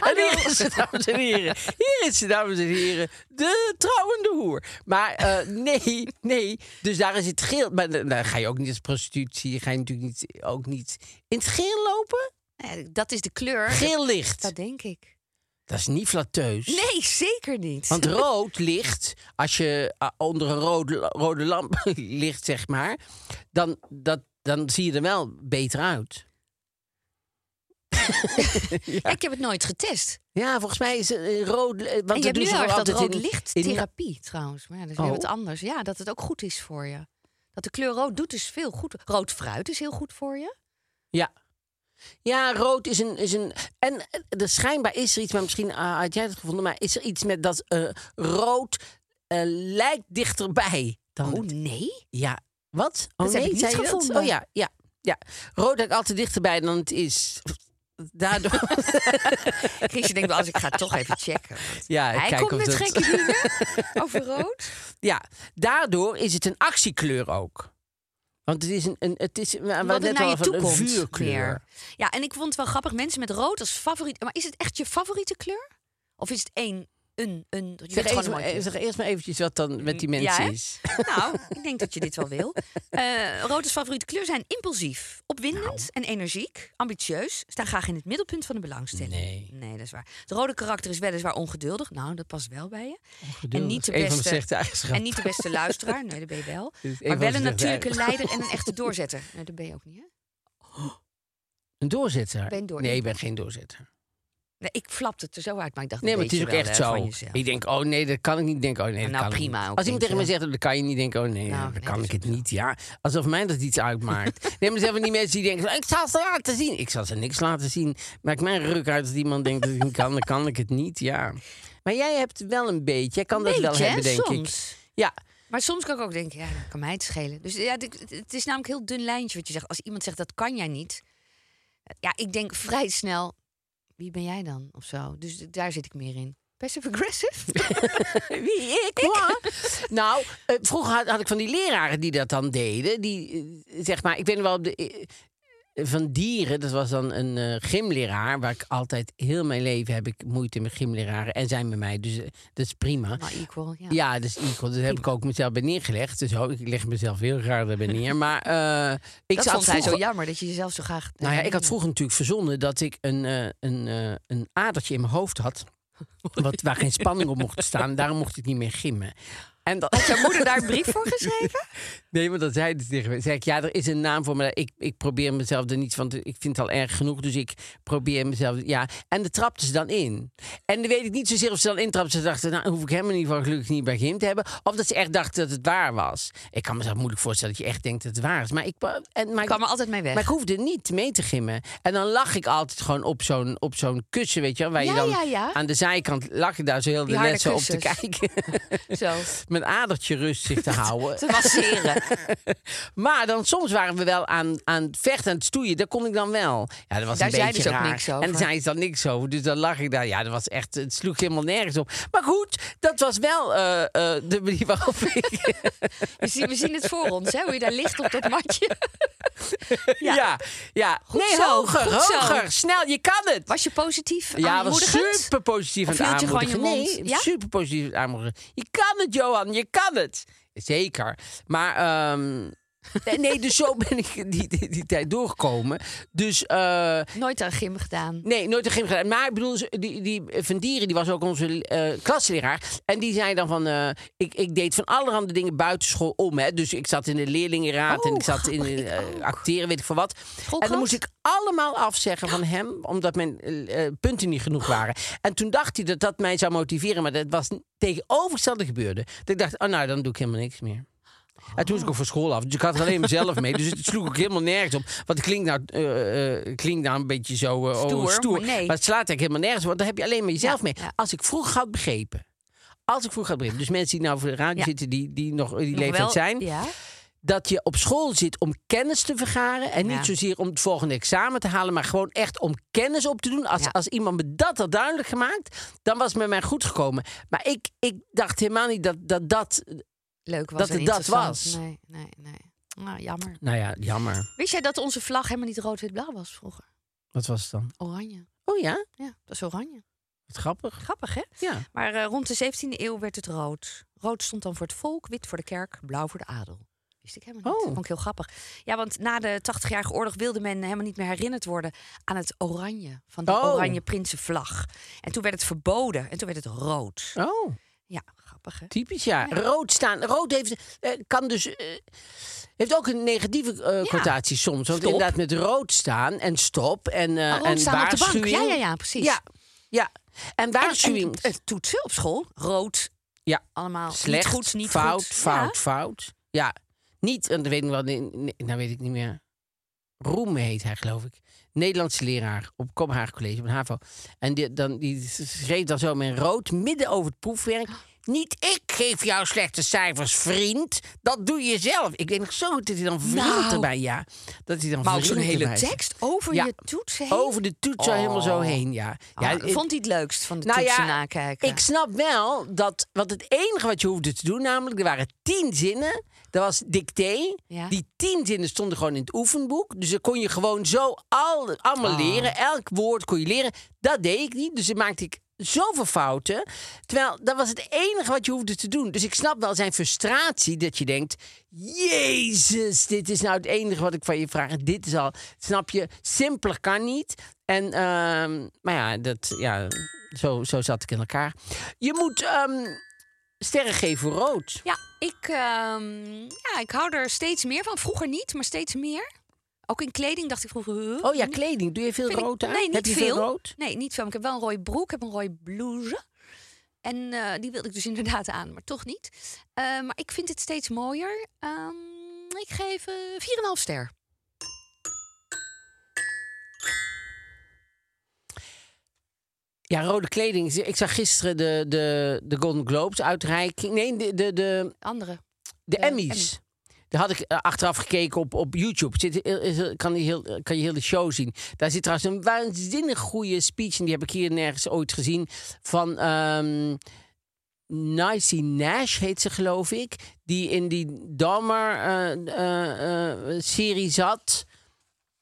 C: En hier is het, dames en heren. Hier is het, dames en heren. De trouwende hoer. Maar eh, nee, nee. Dus daar is het geel. Maar dan dan ga je ook niet als prostitutie. Ga je natuurlijk niet, ook niet in het geel lopen.
B: Nou ja, dat is de kleur.
C: Geel
B: Dat,
C: licht.
B: dat denk ik.
C: Dat is niet flatteus.
B: Nee, zeker niet.
C: Want rood licht, als je ah, onder een rode, rode lamp ligt, zeg maar, dan, dat, dan zie je er wel beter uit.
B: Ja, Ik heb het nooit getest.
C: Ja, volgens mij is eh, rood. eh, Want
B: en je
C: dat
B: hebt
C: doen
B: nu
C: ze
B: erg
C: toch
B: dat
C: altijd
B: rood
C: in- in-
B: lichttherapie trouwens. Maar ja, dat is weer
C: Oh.
B: wat anders. Ja, dat het ook goed is voor je. Dat de kleur rood doet is veel goed. Rood fruit is heel goed voor je.
C: Ja. Ja, rood is een. Is een en eh, er schijnbaar is er iets, maar misschien ah, had jij het gevonden, maar is er iets met dat eh, rood eh, lijkt dichterbij dan.
B: Oh nee?
C: Ja, wat?
B: Dat
C: Oh nee,
B: heb ik niet
C: zei je dat?
B: gevonden.
C: Oh ja, ja, ja. Rood lijkt altijd dichterbij dan het is. Daardoor.
B: Chris, je denkt wel, als ik ga het toch even checken. Want
C: Ja,
B: Hij
C: kijk
B: komt
C: of
B: met
C: dat-
B: gekke dingen over rood.
C: Ja, daardoor is het een actiekleur ook. Want het is een, een het is we hadden
B: Wat het
C: net
B: naar
C: al
B: je
C: van
B: toe komt.
C: een vuurkleur.
B: meer. Ja, en ik vond het wel grappig. Mensen met rood als favoriet. Maar is het echt je favoriete kleur? Of is het één, een, een... Je
C: Zeg,
B: bent gewoon
C: eerst
B: een
C: maar,
B: mooi
C: eh,
B: kind.
C: zeg eerst maar eventjes wat dan met die
B: Ja,
C: mensen
B: hè?
C: is.
B: Nou, ik denk dat je dit wel wil. Eh rood als favoriete kleur zijn impulsief, opwindend
C: Nou.
B: en energiek, ambitieus, staan graag in het middelpunt van de belangstelling.
C: Nee.
B: dat is waar. Het rode karakter is weliswaar ongeduldig. Nou, dat past wel bij je. En niet de
C: Een van mijn
B: beste-
C: slechte eigenschappen.
B: En niet de beste luisteraar. Nee, dat ben je wel.
C: Dit is een
B: Maar wel
C: van de
B: een
C: slechte
B: natuurlijke
C: eigenschappen.
B: leider en een echte doorzetter. Nee, dat ben je ook niet, hè?
C: Een doorzetter.
B: Ben door-
C: Nee, ik ben geen doorzetter.
B: Nee, ik flapte het er zo uit, maar ik dacht,
C: Nee,
B: dat
C: maar het is
B: weet
C: ook
B: je wel,
C: echt
B: hè,
C: zo.
B: van jezelf.
C: Ik denk, oh nee, dat kan ik niet. Ik Denk, oh nee, dat
B: Nou,
C: kan ik
B: prima
C: niet.
B: ook,
C: Als
B: weet
C: iemand tegen
B: je
C: me zegt, dat kan je niet. Denk, ik, oh nee,
B: Nou,
C: dan
B: nee,
C: kan
B: dat
C: ik
B: is
C: het niet. Ja, alsof mij dat iets uitmaakt. nee, maar er zijn van die mensen die denken, ik zal ze laten zien. Ik zal ze niks laten zien. Maakt mij een ruk uit als iemand denkt dat ik het niet kan. Dan kan ik het niet, ja. Maar jij hebt het wel een beetje. Jij kan dat wel
B: Beetje, hè,
C: hebben, denk ik.
B: soms.
C: Ja,
B: Maar soms kan ik ook denken, ja, dat kan mij het schelen. Dus ja, dit- het is namelijk een heel dun lijntje wat je zegt. Als iemand zegt, dat kan jij niet. Ja, ik denk vrij snel, wie ben jij dan? Of zo. Dus d- daar zit ik meer in. Passive aggressive? wie, ik?
C: Ja. nou, eh, vroeger had, had ik van die leraren die dat dan deden. Die, eh, zeg maar, ik ben wel op de... eh, van dieren, dat was dan een eh, gymleraar... waar ik altijd heel mijn leven heb ik moeite met gymleraren. En zijn met mij, dus eh, dat is prima.
B: Nou, equal, ja.
C: Ja, dat is equal. Daar heb ik ook mezelf bij neergelegd. Dus ook, ik leg mezelf heel raar daarbij neer. Maar eh, ik
B: dat
C: zat
B: vond hij zo
C: vroeger-
B: jammer, dat je jezelf zo graag...
C: nou ja, ik had vroeger natuurlijk verzonnen dat ik een, eh, een, eh, een adertje in mijn hoofd had. Wat, waar geen spanning op mocht staan. Daarom mocht ik niet meer gimmen. En dat,
B: Had jouw moeder daar een brief voor geschreven?
C: Nee, want dat zei ze tegen me. Zei ik, ja, er is een naam voor, maar ik, ik probeer mezelf er niet van te... Ik vind het al erg genoeg, dus ik probeer mezelf... Ja, en daar trapte ze dan in. En dan weet ik niet zozeer of ze dan intrapte. Ze dachten, nou, hoef ik hem in ieder geval gelukkig niet bij Gim te hebben. Of dat ze echt dachten dat het waar was. Ik kan mezelf moeilijk voorstellen dat je echt denkt dat het waar is. Maar ik... En, maar
B: Ik kwam er altijd mee weg.
C: maar ik hoefde niet mee te gimmen. En dan lag ik altijd gewoon op zo'n, op zo'n kussen, weet je wel. Waar
B: Ja,
C: je dan
B: ja, ja.
C: aan de zijkant lag ik daar zo heel
B: Die
C: de
B: harde
C: net zo op te
B: kussens.
C: kijken.
B: Zo,
C: Mijn adertje rustig te houden.
B: te masseren.
C: Maar dan soms waren we wel aan, aan het vechten, aan het stoeien. Daar kon ik dan wel. Ja, dat was
B: Daar
C: een
B: zei
C: beetje
B: dus ook
C: raar.
B: niks over.
C: En daar zei ze dan niks over. Dus dan lag ik daar. Ja, dat was echt, het sloeg helemaal nergens op. Maar goed, dat was wel eh, eh, de manier waarop ik...
B: We zien, we zien het voor ons, hè, hoe je daar ligt op dat matje.
C: ja, ja.
B: Goed
C: nee,
B: zo,
C: hoger,
B: goed zo.
C: hoger. Snel, je kan het.
B: Was je positief?
C: ja, was
B: aanmoedigend?
C: super positief aan
B: Of
C: het
B: hield je gewoon je
C: aanmoedigen. Nee,
B: mond? Ja?
C: super positief aan het aanmoedigen. Je kan het, Johan, je kan het. Zeker. Maar ehm, nee, nee, dus zo ben ik die, die, die tijd doorgekomen. Dus eh,
B: Nooit aan gym gedaan.
C: Nee, nooit een gym gedaan. Maar ik bedoel, ze- die, die Van Dieren, die was ook onze eh klasleraar. En die zei dan van, eh, ik, ik deed van allerhande dingen buitenschool om. Hè. Dus ik zat in de leerlingenraad en
B: Oh,
C: ik zat in
B: grappig, ik
C: eh,
B: ook.
C: acteren, weet ik voor wat. En dan moest ik allemaal afzeggen van hem, omdat mijn eh, eh, punten niet genoeg waren. En toen dacht hij dat dat mij zou motiveren, maar dat was tegenovergestelde gebeurde. Dat ik dacht, oh nou, dan doe ik helemaal niks meer. En toen was ik ook van school af. Dus ik had er alleen mezelf mee. Dus het sloeg ook helemaal nergens op. Want het klinkt nou, eh, eh, klinkt nou een beetje zo eh, oh,
B: Stoer,
C: stoer.
B: maar nee.
C: het slaat eigenlijk helemaal nergens op. Want daar heb je alleen maar jezelf
B: Ja,
C: mee.
B: ja.
C: Als ik vroeg had begrepen. Als ik vroeg had begrepen. Dus mensen die nou voor de radio
B: Ja.
C: zitten, die, die nog in die
B: Nog
C: leeftijd
B: wel-
C: zijn.
B: Ja.
C: Dat je op school zit om kennis te vergaren. En
B: Ja.
C: niet zozeer om het volgende examen te halen. Maar gewoon echt om kennis op te doen. Als,
B: Ja.
C: als iemand me dat had duidelijk gemaakt. Dan was het met mij goed gekomen. Maar ik, ik dacht helemaal niet dat dat, dat...
B: Leuk was
C: Dat
B: en
C: het dat
B: interessant.
C: was.
B: Nee, nee, nee. Nou, jammer.
C: Nou ja, jammer.
B: Wist jij dat onze vlag helemaal niet rood-wit-blauw was vroeger?
C: Wat was het dan?
B: Oranje.
C: Oh ja,
B: Ja, dat was oranje.
C: wat grappig.
B: Grappig, hè?
C: Ja.
B: Maar eh, rond de 17e eeuw werd het rood. Rood stond dan voor het volk, wit voor de kerk, blauw voor de adel. Wist ik helemaal niet.
C: Oh.
B: Vond ik heel grappig. Ja, want na de 80-jarige oorlog wilde men helemaal niet meer herinnerd worden aan het oranje. Van de
C: Oh.
B: oranje prinsenvlag. En toen werd het verboden en toen werd het rood.
C: Oh,
B: Ja, grappig hè?
C: typisch ja. Rood staan. Rood heeft, eh, kan dus, eh, heeft ook een negatieve eh connotatie soms. Want
B: Stop. Oh,
C: inderdaad met rood staan en stop en, eh,
B: rood
C: en
B: staan op de bank.
C: waarschuwing.
B: Ja, ja, ja, precies.
C: Ja, ja. En
B: En-
C: waarschuwing.
B: En, het toetsen op school, rood.
C: Ja.
B: Allemaal
C: Slecht,
B: Oh, niet goed, niet
C: fout,
B: goed.
C: fout, fout. Ja, niet, en dat weet ik wel, nee, nee, nou weet ik niet meer. Roem heet hij, geloof ik. Nederlandse leraar op Kopenhagen College, op een HAVO. En die, dan, die schreef dan zo met rood midden over het proefwerk. Niet ik geef jou slechte cijfers, vriend. Dat doe je zelf. Ik denk nog zo goed dat hij dan vriend
B: Nou.
C: erbij, ja. Dat hij dan
B: Maar ook zo'n
C: vriend
B: hele
C: erbij zegt.
B: tekst over
C: Ja.
B: je toets heen.
C: Over de toets zo helemaal zo heen, ja. ja
B: Ah,
C: ik-
B: vond hij het leukst van de
C: nou
B: toetsen
C: ja,
B: nakijken?
C: ik snap wel dat, want het enige wat je hoefde te doen, namelijk, er waren tien zinnen. Dat was dicté.
B: Ja.
C: Die tien zinnen stonden gewoon in het oefenboek. Dus dan kon je gewoon zo al, allemaal
B: Ah.
C: leren. Elk woord kon je leren. Dat deed ik niet. Dus dan maakte ik zoveel fouten. Terwijl dat was het enige wat je hoefde te doen. Dus ik snap wel zijn frustratie dat je denkt... Jezus, dit is nou het enige wat ik van je vraag. En Dit is al, snap je, simpeler kan niet. En, ehm, maar ja, dat, ja zo, zo zat ik in elkaar. Je moet ehm, sterren geven voor rood.
B: Ja, ik, ehm, ja, ik hou er steeds meer van. Vroeger niet, maar steeds meer. Ook in kleding dacht ik vroeger... huh,
C: Oh ja,
B: nu
C: kleding. Doe je veel
B: Hm? vind ik-
C: rood aan?
B: Nee, niet
C: Heb je
B: veel.
C: rood?
B: Nee, niet veel. Maar Ik heb wel een rode broek, ik heb een rode blouse. En eh, die wilde ik dus inderdaad aan, maar toch niet. Eh, maar ik vind het steeds mooier. Ehm, ik geef eh 4,5 ster.
C: Ja, rode kleding. Ik zag gisteren de, de, de Golden Globes uitreiking. Nee, de, de, de,
B: Andere.
C: De
B: De
C: Emmys. Daar had ik eh, achteraf gekeken op, op YouTube. Zit, heel- is- kan, je heel, eh, kan je heel de show zien. Daar zit trouwens een waanzinnig goede speech. En die heb ik hier nergens ooit gezien. Van ehm Nicey Nash heet ze, geloof ik. Die in die eh, Dahmer-serie eh, zat.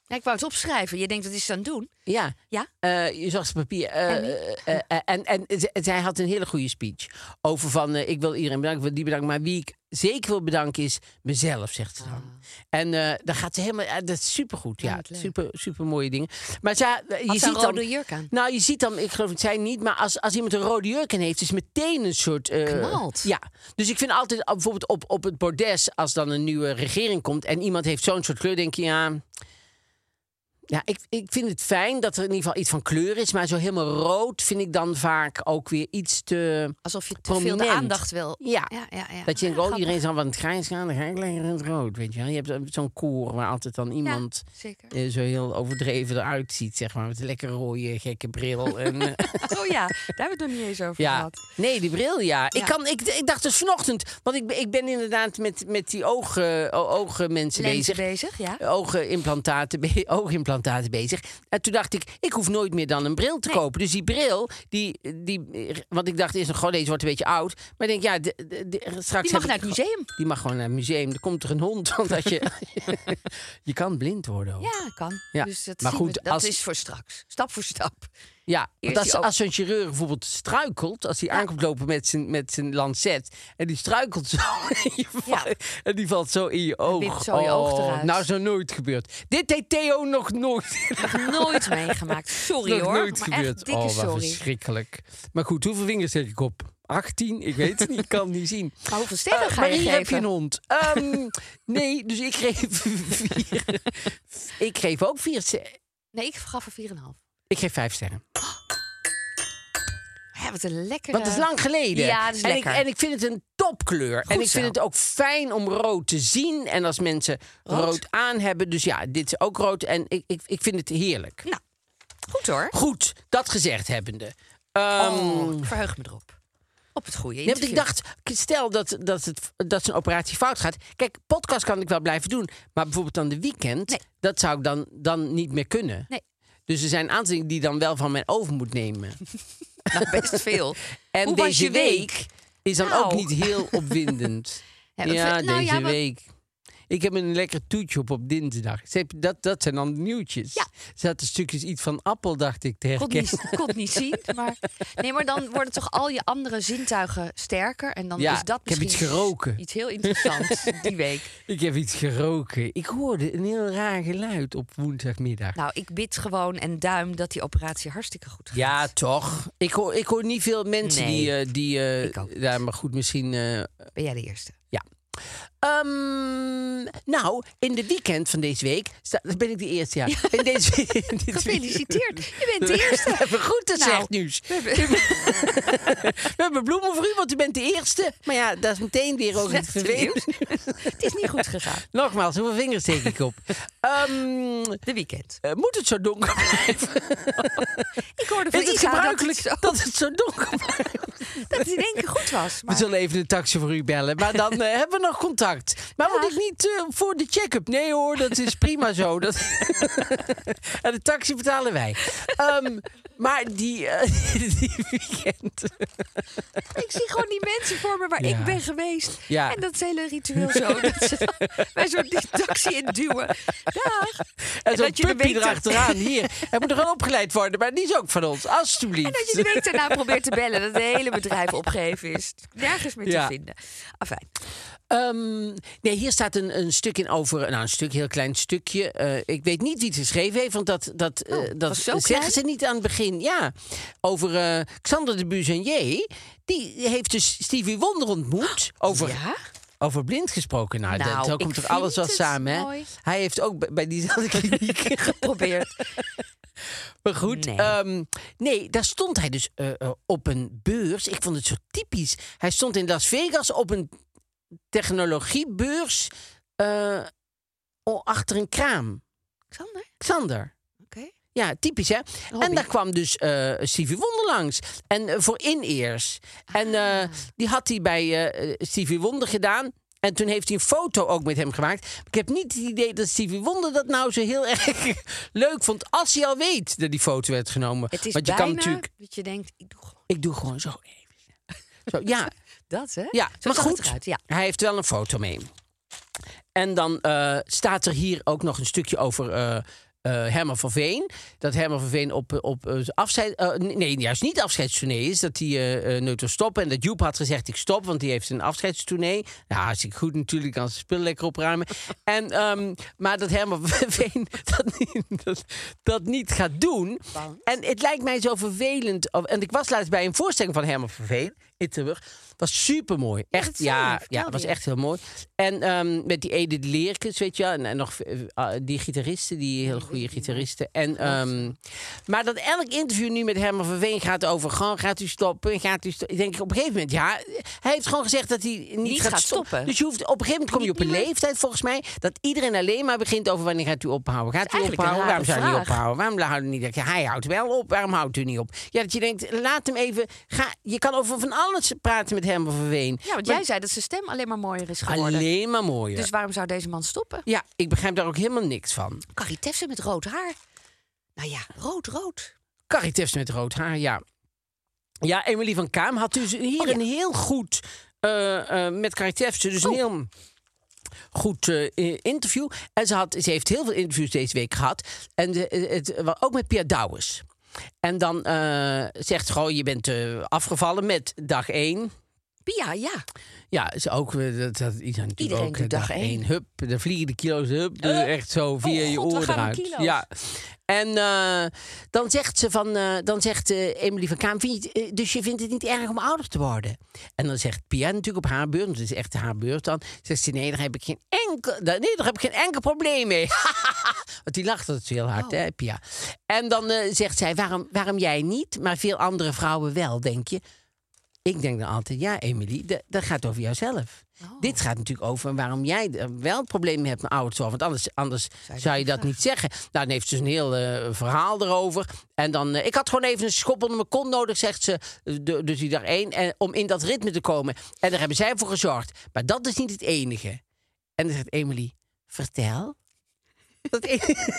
B: Ja, ik wou het opschrijven. Je denkt, wat is ze aan het doen?
C: Ja.
B: Ja.
C: Eh, je zag zijn papier. eh,
B: Emmy.
C: eh, eh, en en z- zij had een hele goede speech. Over van, eh, ik wil iedereen bedanken, ik wil die bedanken. Maar wie ik zeker wil bedanken is mezelf, zegt ze dan. En eh dan gaat ze helemaal... eh, dat is supergoed, ja.
B: wat Ah. leuk.
C: super, super mooie dingen. Maar zij, je
B: Had ze
C: ziet
B: een
C: dan...
B: rode jurk aan?
C: Nou, je ziet dan, ik geloof het zij niet, maar als, als iemand een rode jurk aan heeft, is meteen een soort. eh,
B: Knalt.
C: Ja. Dus ik vind altijd ah, bijvoorbeeld op, op het bordes, als dan een nieuwe regering komt en iemand heeft zo'n soort kleur, denk je ja. Ja, ik, ik vind het fijn dat er in ieder geval iets van kleur is, maar zo helemaal rood vind ik dan vaak ook weer iets te.
B: Alsof je te veel
C: Prominent.
B: de aandacht wil.
C: Ja.
B: ja, ja, ja.
C: Dat je denkt,
B: Ja,
C: oh, iedereen
B: grappig.
C: is al van het grijs gaan, dan ga ik lekker in het rood, weet je wel. Je hebt ook zo'n koor waar altijd dan iemand
B: Ja, zeker.
C: eh, zo heel overdreven eruit ziet, zeg maar. Met een lekker rode, gekke bril. En, eh,
B: Oh ja, daar hebben we het nog niet eens over
C: Ja,
B: gehad.
C: nee, die bril, ja. Ik,
B: Ja.
C: kan, ik, ik dacht dus vanochtend, want ik, ben- ik ben inderdaad met, met die ogen, o- ogenmensen
B: Lenzen
C: bezig.
B: bezig, ja.
C: Ogenimplantaten, be- oogimplantaten bezig. En toen dacht ik, ik hoef nooit meer dan een bril te kopen. Dus die bril, die, die, want ik dacht eerst nog, goh, deze wordt een beetje oud. Maar ik denk, ja, de, de- de- straks...
B: Die mag
C: heb
B: naar
C: ik-
B: het museum.
C: Die mag gewoon naar het museum. Er komt er een hond, want als je, je kan blind worden. Ook.
B: Ja, kan.
C: Ja,
B: Dus dat,
C: maar
B: zien we-
C: goed,
B: dat
C: als-
B: is voor straks. Stap voor stap.
C: Ja, want
B: Eerst
C: als,
B: die oog-
C: als zo'n chirurg bijvoorbeeld struikelt, als hij aankomt lopen met zijn, met zijn lancet en die struikelt zo en, je
B: Ja.
C: valt- en die valt zo in je oog.
B: wipt zo je oog
C: Oh,
B: eruit.
C: Nou, is nog nooit gebeurd. Dit deed Theo nog nooit.
B: Nooit meegemaakt. Sorry
C: nog
B: hoor.
C: nooit
B: maar
C: gebeurd.
B: echt dikke
C: oh, wat
B: sorry.
C: verschrikkelijk. Maar goed, hoeveel vingers zet ik op? 18? Ik weet het niet, ik kan het niet zien.
B: Maar hoeveel sterren
C: Eh,
B: ga
C: maar
B: je
C: hier
B: geven?
C: heb je een hond. Ehm, nee, dus ik geef vier. ik geef ook vier. ster-
B: Nee, ik gaf er 4,5.
C: Ik geef vijf sterren.
B: Ja, wat een lekkere...
C: Want het is lang geleden.
B: Ja, dat is
C: en,
B: lekker.
C: Ik, en ik vind het een topkleur. en ik
B: zo.
C: vind het ook fijn om rood te zien. En als mensen rood,
B: Rood?
C: aan hebben. Dus ja, dit is ook rood. En ik, ik, ik vind het heerlijk.
B: Nou, goed hoor.
C: Goed, dat gezegd hebbende. Ehm,
B: Oh, ik verheug me erop. Op het goede
C: Nee, want ik
B: interview.
C: dacht, k- stel dat, dat, het, dat zijn operatie fout gaat. Kijk, podcast kan ik wel blijven doen. Maar bijvoorbeeld dan de weekend,
B: Nee.
C: dat zou ik dan, dan niet meer kunnen.
B: Nee.
C: Dus er zijn een aantal dingen die ik dan wel van mij over moet nemen.
B: Nou, best veel.
C: En
B: Hoe was
C: deze
B: je week?
C: is dan ook
B: Nou.
C: niet heel opwindend.
B: Ja,
C: ja,
B: wat vind- nou
C: deze
B: ja, wat-
C: week. Ik heb een lekker toetje op op dinsdag. Ze heb- Dat, dat zijn dan de nieuwtjes.
B: Ja.
C: Er zaten stukjes iets van appel, dacht ik, te
B: Kon
C: herkennen.
B: niet, kon niet zien. Maar... Nee, maar dan worden toch al je andere zintuigen sterker. En dan
C: Ja,
B: is dat
C: ik heb
B: misschien
C: iets geroken.
B: Iets heel interessants die week.
C: Ik heb iets geroken. Ik hoorde een heel raar geluid op woensdagmiddag.
B: Nou, ik bid gewoon en duim dat die operatie hartstikke goed gaat.
C: Ja, toch. Ik hoor, ik hoor niet veel mensen
B: Nee,
C: die... eh, die eh,
B: ik ook niet.
C: ja, maar goed, misschien... eh,
B: Ben jij de eerste?
C: Ehm, nou, in de weekend van deze week... sta- ben ik de eerste, ja. In deze, in dit
B: Gefeliciteerd. Je bent de
C: We
B: eerste.
C: hebben goed dat
B: Nou,
C: zegt nieuws. We hebben bloemen voor u, want u bent de eerste. Maar ja, dat is meteen weer ook het
B: Slecht
C: vervelend.
B: nieuws. Het is niet goed gegaan.
C: Nogmaals, hoeveel vingers steek ik op? Ehm,
B: De weekend.
C: eh, moet het zo donker blijven?
B: Ik hoorde van
C: Is het
B: Isa
C: gebruikelijk
B: dat het,
C: dat het zo donker blijft?
B: zo, dat het in één keer goed was.
C: We
B: Maar
C: zullen even de taxi voor u bellen, maar dan eh, hebben we nog contact. Maar moet ik niet eh, voor de check-up? Nee hoor, dat is prima zo. Dat... en de taxi betalen wij. Ehm, maar die, eh, die weekend...
B: ik zie gewoon die mensen voor me waar
C: Ja.
B: ik ben geweest.
C: Ja.
B: En dat is hele ritueel zo. Dat ze mij zo'n die taxi induwen. Dag.
C: En zo'n
B: dat je de
C: puppy
B: week daar-
C: erachteraan. Hier, hij moet er gewoon opgeleid worden. Maar die is ook van ons, alstublieft.
B: En dat je de week daarna probeert te bellen. Dat het hele bedrijf opgegeven is. Nergens meer
C: Ja.
B: te vinden. Afijn.
C: Ehm, nee, hier staat een, een stuk in over... Nou, een stuk, heel klein stukje. Eh, ik weet niet wie het geschreven heeft, want dat, dat, eh, dat
B: Oh, was zo
C: zeggen
B: klein?
C: ze niet aan het begin. Ja, over eh, Xander de Buzanier. Die heeft dus Stevie Wonder ontmoet. Over
B: Ja?
C: Over blind gesproken, nou,
B: Nou,
C: dat- zo
B: ik
C: komt toch
B: vind
C: alles wel
B: het
C: samen, hè?
B: mooi.
C: Hij heeft ook bij, bij diezelfde kliniek
B: Probeert.
C: Maar goed,
B: Nee.
C: ehm, nee, daar stond hij dus eh, eh, op een beurs. Ik vond het zo typisch. Hij stond in Las Vegas op een technologiebeurs eh, o- achter een kraam.
B: Xander?
C: Xander.
B: Oké.
C: Ja, typisch hè. En daar kwam dus eh Stevie Wonder langs. En eh, voor in-ears. En
B: Ah.
C: eh, die had hij bij eh, eh, Stevie Wonder gedaan. En toen heeft hij een foto ook met hem gemaakt. Ik heb niet het idee dat Stevie Wonder dat nou zo heel erg leuk vond. Als hij al weet dat die foto werd genomen.
B: Het is
C: Want je
B: bijna
C: kan natuurlijk.
B: dat je denkt, ik doe gewoon
C: Ik doe gewoon zo even. Zo, ja,
B: dat, hè?
C: ja,
B: Zo
C: maar
B: zag het
C: goed,
B: eruit, ja.
C: hij heeft wel een foto mee. En dan eh, staat er hier ook nog een stukje over eh eh, Herman van Veen. Dat Herman van Veen op, eh, op eh, zijn afscheid... eh, nee, juist niet afscheidstournee is. Dat hij eh, eh, nooit wil stoppen. En dat Joep had gezegd, ik stop, want die heeft een afscheidstournee. Nou, hartstikke goed natuurlijk. Kan zijn spullen lekker opruimen. en, ehm, maar dat Herman van Veen dat niet, dat, dat niet gaat doen.
B: Want?
C: En het lijkt mij zo vervelend. En ik was laatst bij een voorstelling van Herman van Veen in Tilburg. Was super mooi.
B: dat
C: Echt,
B: zei je,
C: ja, ja,
B: vertelde
C: was
B: je.
C: echt heel mooi. En ehm, met die Edith Leerkens, weet je wel. En, en nog eh, ah, die gitaristen, die hele goede gitaristen. En, ehm, maar dat elk interview nu met Herman van Veen gaat over... gewoon gaat u stoppen, gaat u stoppen. Ik denk op een gegeven moment, ja... Hij heeft gewoon gezegd dat hij niet,
B: Niet gaat
C: stop-
B: stoppen.
C: Dus je hoeft, op een gegeven moment kom je op een leeftijd, volgens mij... dat iedereen alleen maar begint over wanneer gaat u ophouden. Gaat u
B: eigenlijk een rare
C: ophouden? Waarom zou je niet
B: vraag.
C: ophouden? houden? Waarom houden niet? Dat je, hij houdt wel op. Waarom houdt u niet op? Ja, dat je denkt, laat hem even. Ga, je kan over van alles praten met hem van Veen.
B: Ja, want jij zei dat zijn stem alleen maar mooier is geworden.
C: Alleen maar mooier.
B: Dus waarom zou deze man stoppen?
C: Ja, ik begrijp daar ook helemaal niks van.
B: Carrie Tefse met rood haar. Nou ja, rood, rood.
C: Carrie Tefs met rood haar, ja. Ja, Emily van Kaam had dus hier
B: Oh, ja.
C: een heel goed... eh, eh, met Carrie Tefs, dus
B: Oh.
C: een heel goed eh, eh, interview. En ze, had, ze heeft heel veel interviews deze week gehad. En de- het, het- ook met Pia Douwens. En dan eh, zegt ze gewoon, je bent eh, afgevallen met dag één.
B: Pia, ja.
C: Ja, is ook eh, dat, dat is natuurlijk
B: Iedereen
C: ook
B: doet
C: eh,
B: dag één.
C: Hup, dan vliegen de kilo's hup, dus echt zo via
B: oh
C: je
B: god, waar
C: oren
B: gaan de
C: eruit.
B: kilo's?
C: Ja. En eh, dan zegt ze van, eh, dan zegt eh, Emily van Kaam, vind je, het, eh, dus je vindt het niet erg om ouder te worden? En dan zegt Pia natuurlijk op haar beurt, want het is echt haar beurt dan, zegt ze nee, daar heb ik geen enkel, daar- nee, daar heb ik geen enkel probleem mee. Want die lacht altijd heel
B: Oh.
C: hard, hè, Pia. En dan eh, zegt zij, waarom, waarom jij niet, maar veel andere vrouwen wel, denk je? Ik denk dan altijd, ja, Emily, da- dat gaat over jouzelf. Dit gaat natuurlijk over waarom jij eh, wel problemen hebt met ouders. worden, Want anders, anders zou je, dat niet zeggen. Nou, dan heeft ze een heel eh, verhaal erover. En dan, eh, ik had gewoon even een schop onder mijn kont nodig, zegt ze. eh, de- Dus die daar één, en, om in dat ritme te komen. En daar hebben zij voor gezorgd. Maar dat is niet het enige. En dan zegt Emily, vertel. Dat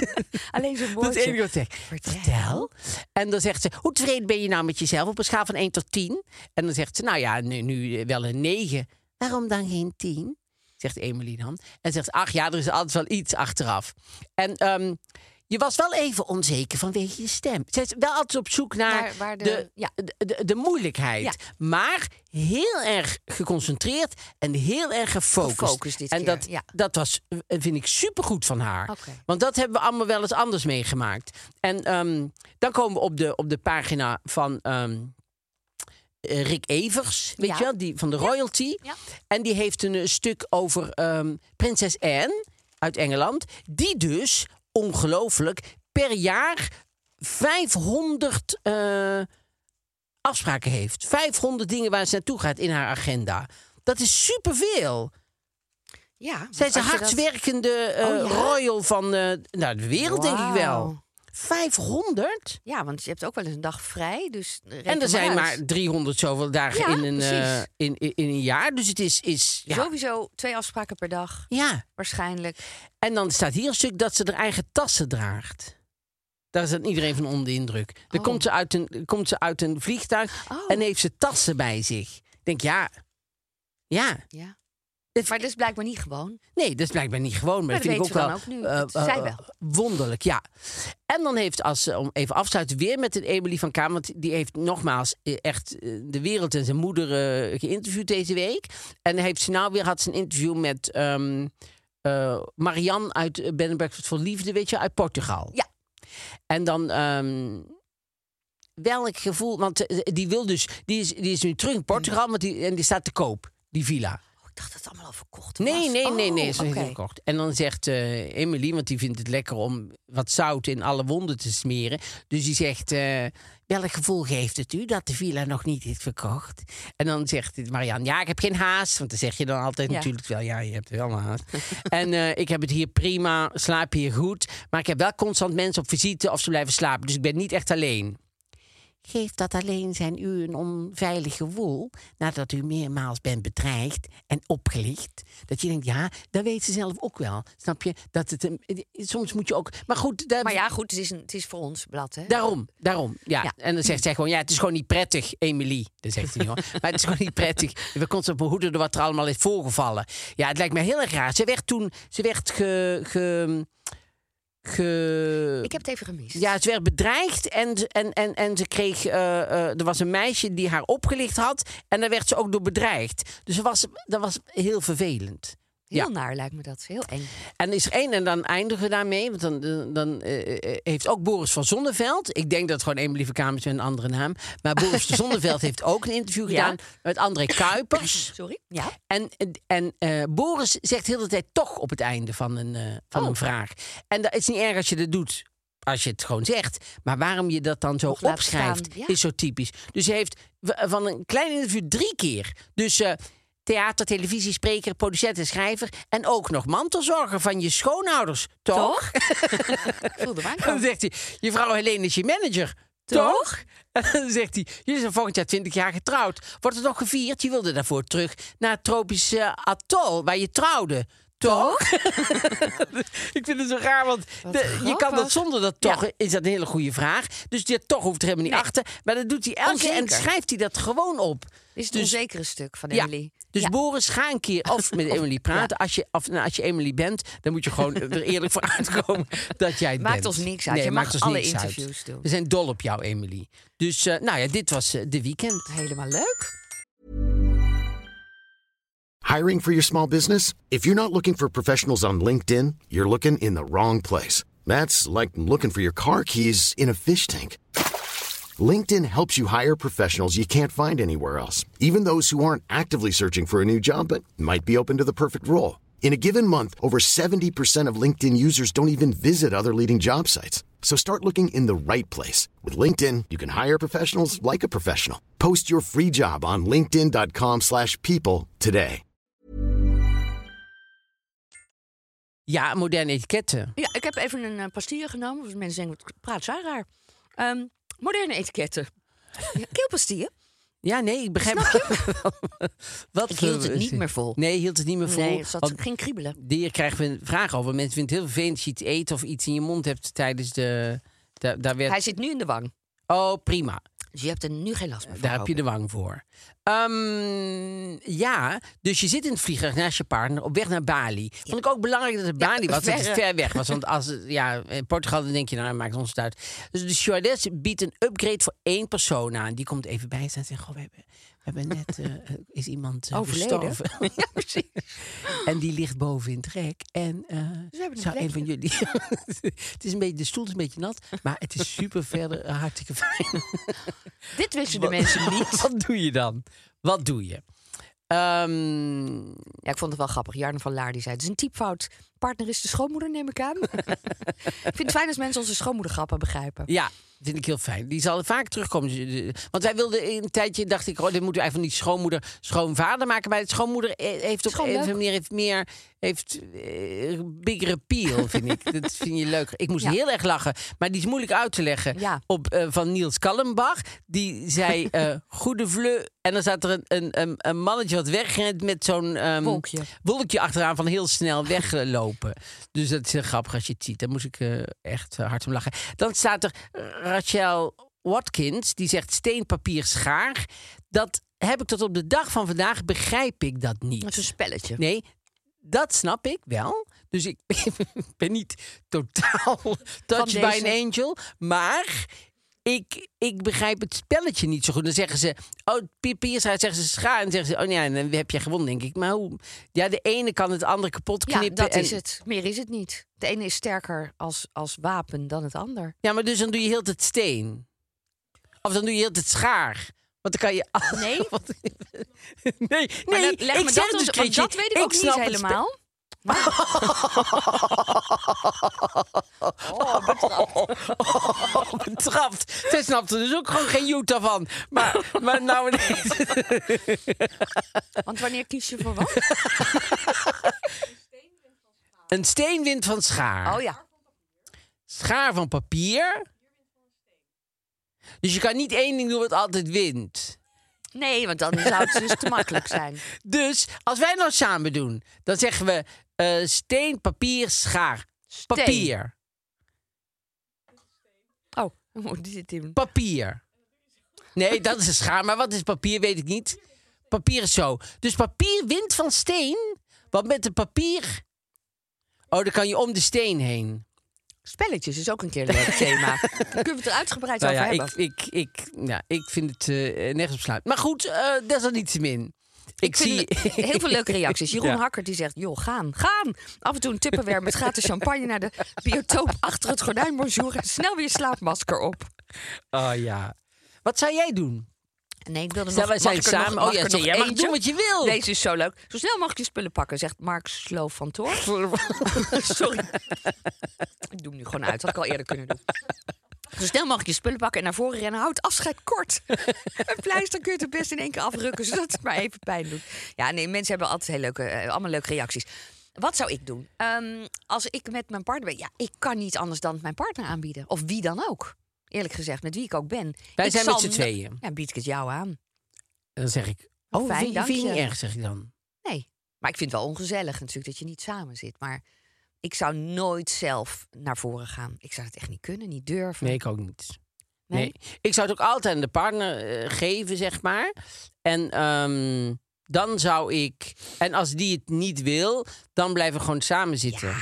B: Alleen zo'n
C: dat is het
B: woordje.
C: enige wat ik zeg.
B: Vertel.
C: Vertel. En dan zegt ze, hoe tevreden ben je nou met jezelf op een schaal van 1 tot 10? En dan zegt ze, nou ja, nu, nu eh, wel een 9. Waarom dan geen 10? Zegt Emily dan. En zegt, ach ja, er is altijd wel iets achteraf. En ehm, je was wel even onzeker vanwege je stem. Ze is wel altijd op zoek naar
B: Naar waar de-
C: de,
B: ja.
C: de, de, de moeilijkheid.
B: Ja.
C: Maar heel erg geconcentreerd en heel erg gefocust.
B: Gefocust dit
C: en
B: keer,
C: dat,
B: ja.
C: dat was, eh, vind ik supergoed van haar.
B: Oké.
C: Want dat hebben we allemaal wel eens anders meegemaakt. En ehm, dan komen we op de, op de pagina van ehm, eh, Rick Evers, weet
B: Ja.
C: je wel, die, van de Royalty.
B: Ja.
C: En die heeft een eh, stuk over ehm, prinses Anne uit Engeland. Die dus, ongelooflijk, per jaar 500 eh, afspraken heeft. 500 dingen waar ze naartoe gaat in haar agenda. Dat is superveel.
B: Ja, want
C: Zij is een
B: als je dat-
C: hardwerkende eh,
B: Oh, ja?
C: royal van eh, nou, de wereld, denk ik wel.
B: Wauw.
C: 500?
B: Ja, want je hebt ook wel eens een dag vrij, dus reken
C: en er zijn
B: uit.
C: maar 300 zoveel dagen
B: Ja,
C: in, een, eh,
B: precies.
C: in, in, in een jaar. Dus het is... is ja.
B: Sowieso twee afspraken per dag,
C: ja.
B: waarschijnlijk.
C: En dan staat hier een stuk dat ze haar eigen tassen draagt. Daar is dan iedereen van onder de indruk. Dan
B: Oh.
C: komt, ze uit een, komt ze uit een vliegtuig
B: Oh.
C: en heeft ze tassen bij zich. Ik denk, ja... Ja,
B: Ja.
C: dat-
B: Maar dat is blijkbaar niet gewoon.
C: Nee, dat is blijkbaar niet gewoon. Maar,
B: Maar
C: dat vind
B: dat
C: ik ook
B: weten we
C: wel,
B: dan ook nu.
C: eh,
B: Dat zei
C: eh,
B: wel.
C: Wonderlijk, ja. En dan heeft, als, ze- om even af te sluiten, weer met een Emily van Kaam. Want die heeft nogmaals eh, echt eh, de wereld en zijn moeder eh, geïnterviewd deze week. En heeft ze nou weer had ze een interview met ehm eh, Marianne uit eh, Ben Breakfast voor Liefde, weet je, uit Portugal.
B: Ja.
C: En dan ehm, welk gevoel, want eh, die wil dus, die is, die is nu terug in Portugal, want die, en die staat te koop, die villa.
B: Oh, ik dacht dat het allemaal al verkocht was.
C: Nee, nee, nee, nee,
B: Oh,
C: ze heeft het
B: oké.
C: gekocht. En dan zegt eh Emily, want die vindt het lekker om wat zout in alle wonden te smeren. Dus die zegt, eh, welk gevoel geeft het u dat de villa nog niet is verkocht? En dan zegt Marianne, ja, ik heb geen haast. Want dan zeg je dan altijd
B: Ja.
C: natuurlijk wel, ja, je hebt wel een haast. en eh, ik heb het hier prima, slaap hier goed. Maar ik heb wel constant mensen op visite of ze blijven slapen. Dus ik ben niet echt alleen. Geeft dat alleen zijn u een onveilig gevoel nadat u meermaals bent bedreigd en opgelicht? Dat je denkt, ja, dat weet ze zelf ook wel. Snap je? Dat het, een- soms moet je ook. Maar goed, daar,
B: Maar ja, goed, het is, een, het is voor ons blad, hè?
C: daarom, daarom. Ja.
B: Ja.
C: En dan zegt zij gewoon, ja, het is gewoon niet prettig, Emily. Dat zegt hij hoor. Maar het is gewoon niet prettig. We konden op behoeden door wat er allemaal is voorgevallen. Ja, het lijkt me heel erg raar. Ze werd toen, ze werd ge, ge, ge-
B: Ik heb het even gemist.
C: ja, ze werd bedreigd en, ze- en, en, en ze kreeg. eh, eh, er was een meisje die haar opgelicht had. En daar werd ze ook door bedreigd. Dus dat was, dat was heel vervelend.
B: heel
C: ja.
B: naar lijkt me dat. Heel eng.
C: En is er één, en dan eindigen we daarmee. Want dan, dan, dan, eh, eh, heeft ook Boris van Zonneveld. Ik denk dat het gewoon Emily Verkamer is met een andere naam. Maar Boris van Zonneveld heeft ook een interview
B: Ja.
C: gedaan met André Kuipers.
B: Sorry? Ja.
C: En, en eh, Boris zegt heel de tijd toch op het einde van een, eh, van
B: Oh.
C: een vraag. En dat is niet erg als je dat doet. Als je het gewoon zegt. Maar waarom je dat dan zo
B: Of laat
C: opschrijft,
B: staan, ja.
C: is zo typisch. Dus hij heeft w- van een klein interview drie keer. Dus eh, theater, televisie, spreker, producent en schrijver. En ook nog mantelzorger van je schoonouders. Toch?
B: Toch? ik voelde mijn
C: En dan zegt hij, je vrouw Helene is je manager. Toch? En dan zegt hij, jullie zijn volgend jaar 20 jaar getrouwd. Wordt het nog gevierd? Je wilde daarvoor terug naar het tropische atol waar je trouwde. Toch? ik vind het zo raar, want
B: Wat
C: de- je kan dat
B: grappig.
C: zonder dat toch. Is dat een hele goede vraag. Dus die toch hoeft er helemaal niet
B: Nee.
C: achter. Maar dat doet hij elke keer en
B: Onzeker.
C: schrijft hij dat gewoon op.
B: Dit is het
C: Dus-
B: onzekere stuk van
C: Ja.
B: Emily.
C: Dus
B: Ja.
C: Boris, ga een keer of met Emily praten. Als, je, of, nou, als je Emily bent, dan moet je gewoon er eerlijk voor uitkomen dat jij het
B: Maakt
C: bent.
B: ons niks uit. Je
C: maakt
B: mag
C: ons
B: alle
C: niks uit.
B: interviews doen.
C: We zijn dol op jou, Emily. Dus eh, nou ja, dit was eh, de weekend.
B: Helemaal leuk.
E: Hiring for your small business? If you're not looking for professionals on LinkedIn, you're looking in the wrong place. That's like looking for your car keys in a fish tank. LinkedIn helps you hire professionals you can't find anywhere else, even those who aren't actively searching for a new job but might be open to the perfect role. In a given month, over 70% of LinkedIn users don't even visit other leading job sites. So start looking in the right place. With LinkedIn, you can hire professionals like a professional. Post your free job on linkedin.com/people slash people today.
C: Ja, moderne etiketten.
B: Ja, ik heb even een eh, pastille genomen. Want mensen denken, wat praat zij raar. Ehm, moderne etiketten. Ja, Keelpastille.
C: Ja, nee, ik begrijp Wat
B: Ik hield het
C: voor-
B: niet meer vol.
C: Nee, hield het niet meer vol.
B: Nee, er zat
C: Want
B: geen kriebelen.
C: hier krijgen we een vraag over. Mensen vinden het heel vervelend als je iets eet of iets in je mond hebt tijdens de... Daar, daar werd...
B: Hij zit nu in de wang.
C: Oh, prima.
B: Dus je hebt er nu geen last meer van.
C: Eh, Daar heb
B: hoop
C: je de wang voor. Ehm, ja, dus je zit in het vliegtuig naast je partner op weg naar Bali. Vond ik ook belangrijk dat het Bali was, dat het
B: verre.
C: ver weg was. Want als het- ja, in Portugal dan denk je, nou, maakt ons het uit. Dus de stewardess biedt een upgrade voor één persoon aan. Die komt even bij staan en zegt, goh, we hebben, we hebben net, eh, is iemand eh,
B: Overleden.
C: gestorven. ja, precies. En die ligt boven in het rek. En eh,
B: hebben een
C: zou een van jullie... het is een beetje, de stoel is een beetje nat, maar het is super verder eh, hartstikke fijn.
B: ik. Dit wisten de mensen niet.
C: Wat doe je dan? Wat doe je? Ehm,
B: Ja, ik vond het wel grappig. Jarno van Laar die zei: Het is een typfout. Partner is de schoonmoeder, neem ik aan. ik vind het fijn als mensen onze schoonmoedergrappen begrijpen.
C: ja, vind ik heel fijn. Die zal vaak terugkomen. Dus, eh, Want wij wilden een tijdje, dacht ik, oh, dit moeten we eigenlijk niet schoonmoeder, schoonvader maken. Maar het schoonmoeder eh, heeft op
B: Schoon
C: een
B: leuk.
C: of andere manier heeft meer, heeft eh, bigger appeal, vind ik. Dat vind je leuker. Ik moest
B: Ja.
C: heel erg lachen, maar die is moeilijk uit te leggen.
B: Ja. Mm.
C: Op, eh, van Niels Kallenbach. Die zei, eh, goede vleu. En dan zat er een, een, een, een mannetje wat wegrent met zo'n... ehm,
B: Wolkje.
C: wolkje achteraan van heel snel weglopen. Dus dat is heel grappig als je het ziet. Daar moest ik eh, echt eh, hard om lachen. Dan staat er eh, Rachel Watkins, die zegt steen, papier, schaar. Dat heb ik tot op de dag van vandaag, begrijp ik dat niet.
B: Dat is een spelletje.
C: Nee, dat snap ik wel. Dus ik ben niet totaal touched by
B: deze.
C: an angel. Maar ik, ik begrijp het spelletje niet zo goed. Dan zeggen ze, oh, papier schaar, zeggen ze schaar. En zeggen ze, oh ja, dan heb je gewonnen, denk ik. Maar hoe? Ja, de ene kan het andere kapot
B: Ja,
C: knippen.
B: dat
C: en-
B: is het. Meer is het niet. De ene is sterker als, als wapen dan het ander.
C: Ja, maar dus dan doe je heel het steen. Of dan doe je heel het schaar. Want dan kan je... al-
F: Nee?
C: want- nee,
F: Maar
C: nee.
F: dan- leg
C: ik
F: me
C: zeg
F: dat
C: het
F: dus,
C: dus,
F: want
C: Grietje.
F: dat weet ik, ook niet
C: snap het spe-
F: helemaal.
B: Oh, betrapt.
C: Oh, betrapt. Zij snapt er dus ook gewoon geen Utah van. Maar, maar nou ineens...
F: Want wanneer kies je voor wat?
C: Een steenwind van schaar.
B: Oh ja.
C: Schaar van papier. Dus je kan niet één ding doen wat altijd wint.
B: Nee, want dan zou het dus te makkelijk zijn.
C: Dus als wij nou samen doen, dan zeggen we eh, steen, papier, schaar.
B: Steen.
C: Papier.
B: Oh, hoe moet dit doen?
C: Papier. Nee, dat is een schaar. Maar wat is papier, weet ik niet. Papier is zo. Dus papier wint van steen. Want met een papier... Oh, dan kan je om de steen heen.
B: Spelletjes is ook een keer een leuk thema. Dan kunnen we het er uitgebreid
C: Nou
B: over
C: ja, ik,
B: hebben.
C: ik, ik, ja, ik vind het eh, nergens op sluit. Maar goed, eh desalniettemin. Ik,
B: Ik
C: zie...
B: vind heel veel leuke reacties. Jeroen
C: Ja.
B: Hakker die zegt, joh, gaan, gaan. Af en toe een tupperware met gratis champagne naar de biotoop achter het gordijn. Bonjour. En snel weer je slaapmasker op.
C: Oh ja. Wat zou jij doen?
B: Nee, ik wilde
C: Stel,
B: nog...
C: wij zijn
B: mag ik er nog-
C: samen.
B: mag
C: Oh
B: ik
C: ja,
B: er
C: zeg,
B: nog
C: jij mag
B: eentje?
C: doen wat je wil.
B: Deze is zo leuk. Zo snel mogelijk je spullen pakken, zegt Mark Sloof van Toor. Sorry. ik doe hem nu gewoon uit. Had ik al eerder kunnen doen. Zo snel mogelijk je spullen pakken en naar voren rennen. Houd afscheid kort. Een pleister kun je het best in één keer afrukken, zodat het maar even pijn doet. Ja, nee, mensen hebben altijd heel leuke, eh, allemaal leuke reacties. Wat zou ik doen? Ehm, als ik met mijn partner ben, ja, ik kan niet anders dan het mijn partner aanbieden. Of wie dan ook. Eerlijk gezegd, met wie ik ook ben.
C: Wij
B: Ik
C: zijn
B: zal
C: met z'n
B: no-
C: tweeën.
B: Ja, bied ik het jou aan.
C: Dan zeg ik... Oh,
B: Fijn,
C: vind, je-
B: dank
C: vind je niet
B: je.
C: erg, zeg ik dan.
B: Nee. Maar ik vind het wel ongezellig natuurlijk dat je niet samen zit. Maar ik zou nooit zelf naar voren gaan. Ik zou het echt niet kunnen, niet durven.
C: Nee, ik ook niet.
B: Nee?
C: Nee. Ik zou het ook altijd aan de partner eh, geven, zeg maar. En ehm, dan zou ik... En als die het niet wil, dan blijven we gewoon samen zitten.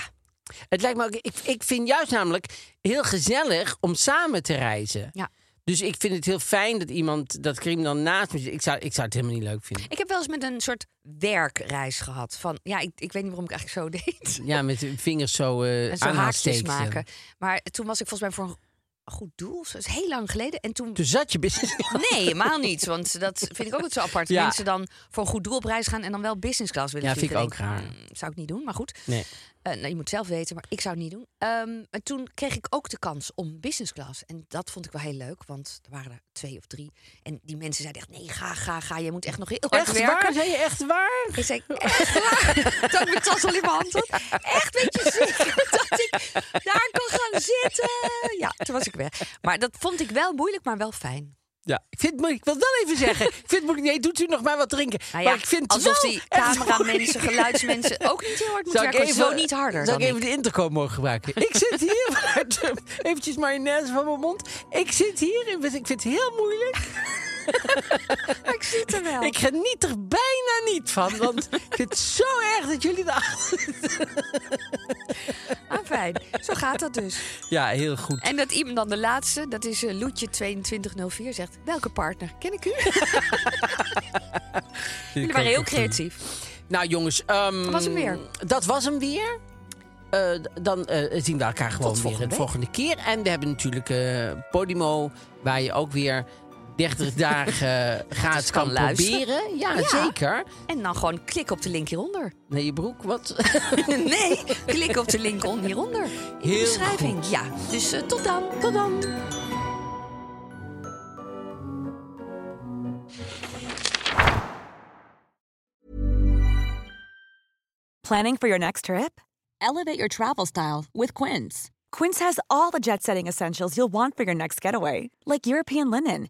C: Het lijkt me ook... Ik, ik vind juist namelijk heel gezellig om samen te reizen.
B: Ja.
C: Dus ik vind het heel fijn dat iemand, dat Krim dan naast me zit. Ik zou, ik zou het helemaal niet leuk vinden.
B: Ik heb wel eens met een soort werkreis gehad. Van, ja, ik, ik weet niet waarom ik eigenlijk zo deed.
C: Ja, met de vingers zo eh
B: en zo haakjes
C: aanhaalsteekjes.
B: maken. Maar toen was ik volgens mij voor een goed doel. of zo. Dat is heel lang geleden. En toen...
C: Toen zat je business.
B: Nee, helemaal niet. Want dat vind ik ook altijd zo apart.
C: Ja.
B: Mensen dan voor een goed doel op reis gaan en dan wel business class willen
C: Ja, vind ik
B: vliegen. Dan
C: ook
B: denk
C: raar.
B: "Mm, zou ik niet doen, maar goed.
C: Nee.
B: Eh, nou, je moet het zelf weten, maar ik zou het niet doen. Ehm, en toen kreeg ik ook de kans om business class. En dat vond ik wel heel leuk, want er waren er twee of drie. En die mensen zeiden echt, nee, ga, ga, ga. Je moet echt nog heel hard
C: Echt
B: werken.
C: waar? Zijn je echt waar?
B: Ik zei, echt waar? Dat ik mijn tas al in mijn hand had. Echt, weet je zeker dat ik daar kon gaan zitten? Ja, toen was ik weg. Maar dat vond ik wel moeilijk, maar wel fijn.
C: Ja. Ik, vind, het moeilijk. ik wil het wel even zeggen. ik vind het moeilijk. Nee, doet u nog maar wat drinken.
B: Nou ja,
C: maar ik vind het
B: alsof
C: wel
B: die
C: echt
B: cameramensen,
C: moeilijk.
B: geluidsmensen ook niet heel hard moeten
C: Zou ik
B: werken.
C: even,
B: zo niet harder
C: Zou
B: dan
C: ik even
B: ik.
C: de intercom mogen gebruiken? ik zit hier, maar- eventjes mayonaise van mijn mond. Ik zit hier en ik vind het heel moeilijk.
B: Maar ik zit er wel.
C: Ik geniet er bijna niet van, want ik vind het zo erg dat jullie erachter...
B: Maar Ah, fijn, zo gaat dat dus.
C: Ja, heel goed.
B: En dat iemand dan de laatste, dat is eh, Loetje2204, zegt... Welke partner? Ken ik u? Jullie waren heel creatief.
C: Nou jongens, ehm,
B: Dat was hem weer.
C: Dat was hem weer. Eh, d- dan eh, zien we elkaar gewoon weer
B: volgende
C: de
B: week.
C: volgende keer. En we hebben natuurlijk eh, Podimo, waar je ook weer 30 dagen gratis
B: kan
C: kan,
B: luisteren.
C: proberen. Ja,
B: Ja.
C: zeker.
B: En dan gewoon klik op de link hieronder.
C: Nee, je broek, wat?
B: Nee, klik op de link on- hieronder. In de
C: Heel
B: beschrijving.
C: goed.
B: Ja, dus eh, tot dan. Tot dan.
G: Planning for your next trip? Elevate your travel style with Quince. Quince has all the jet setting essentials you'll want for your next getaway, like European linen,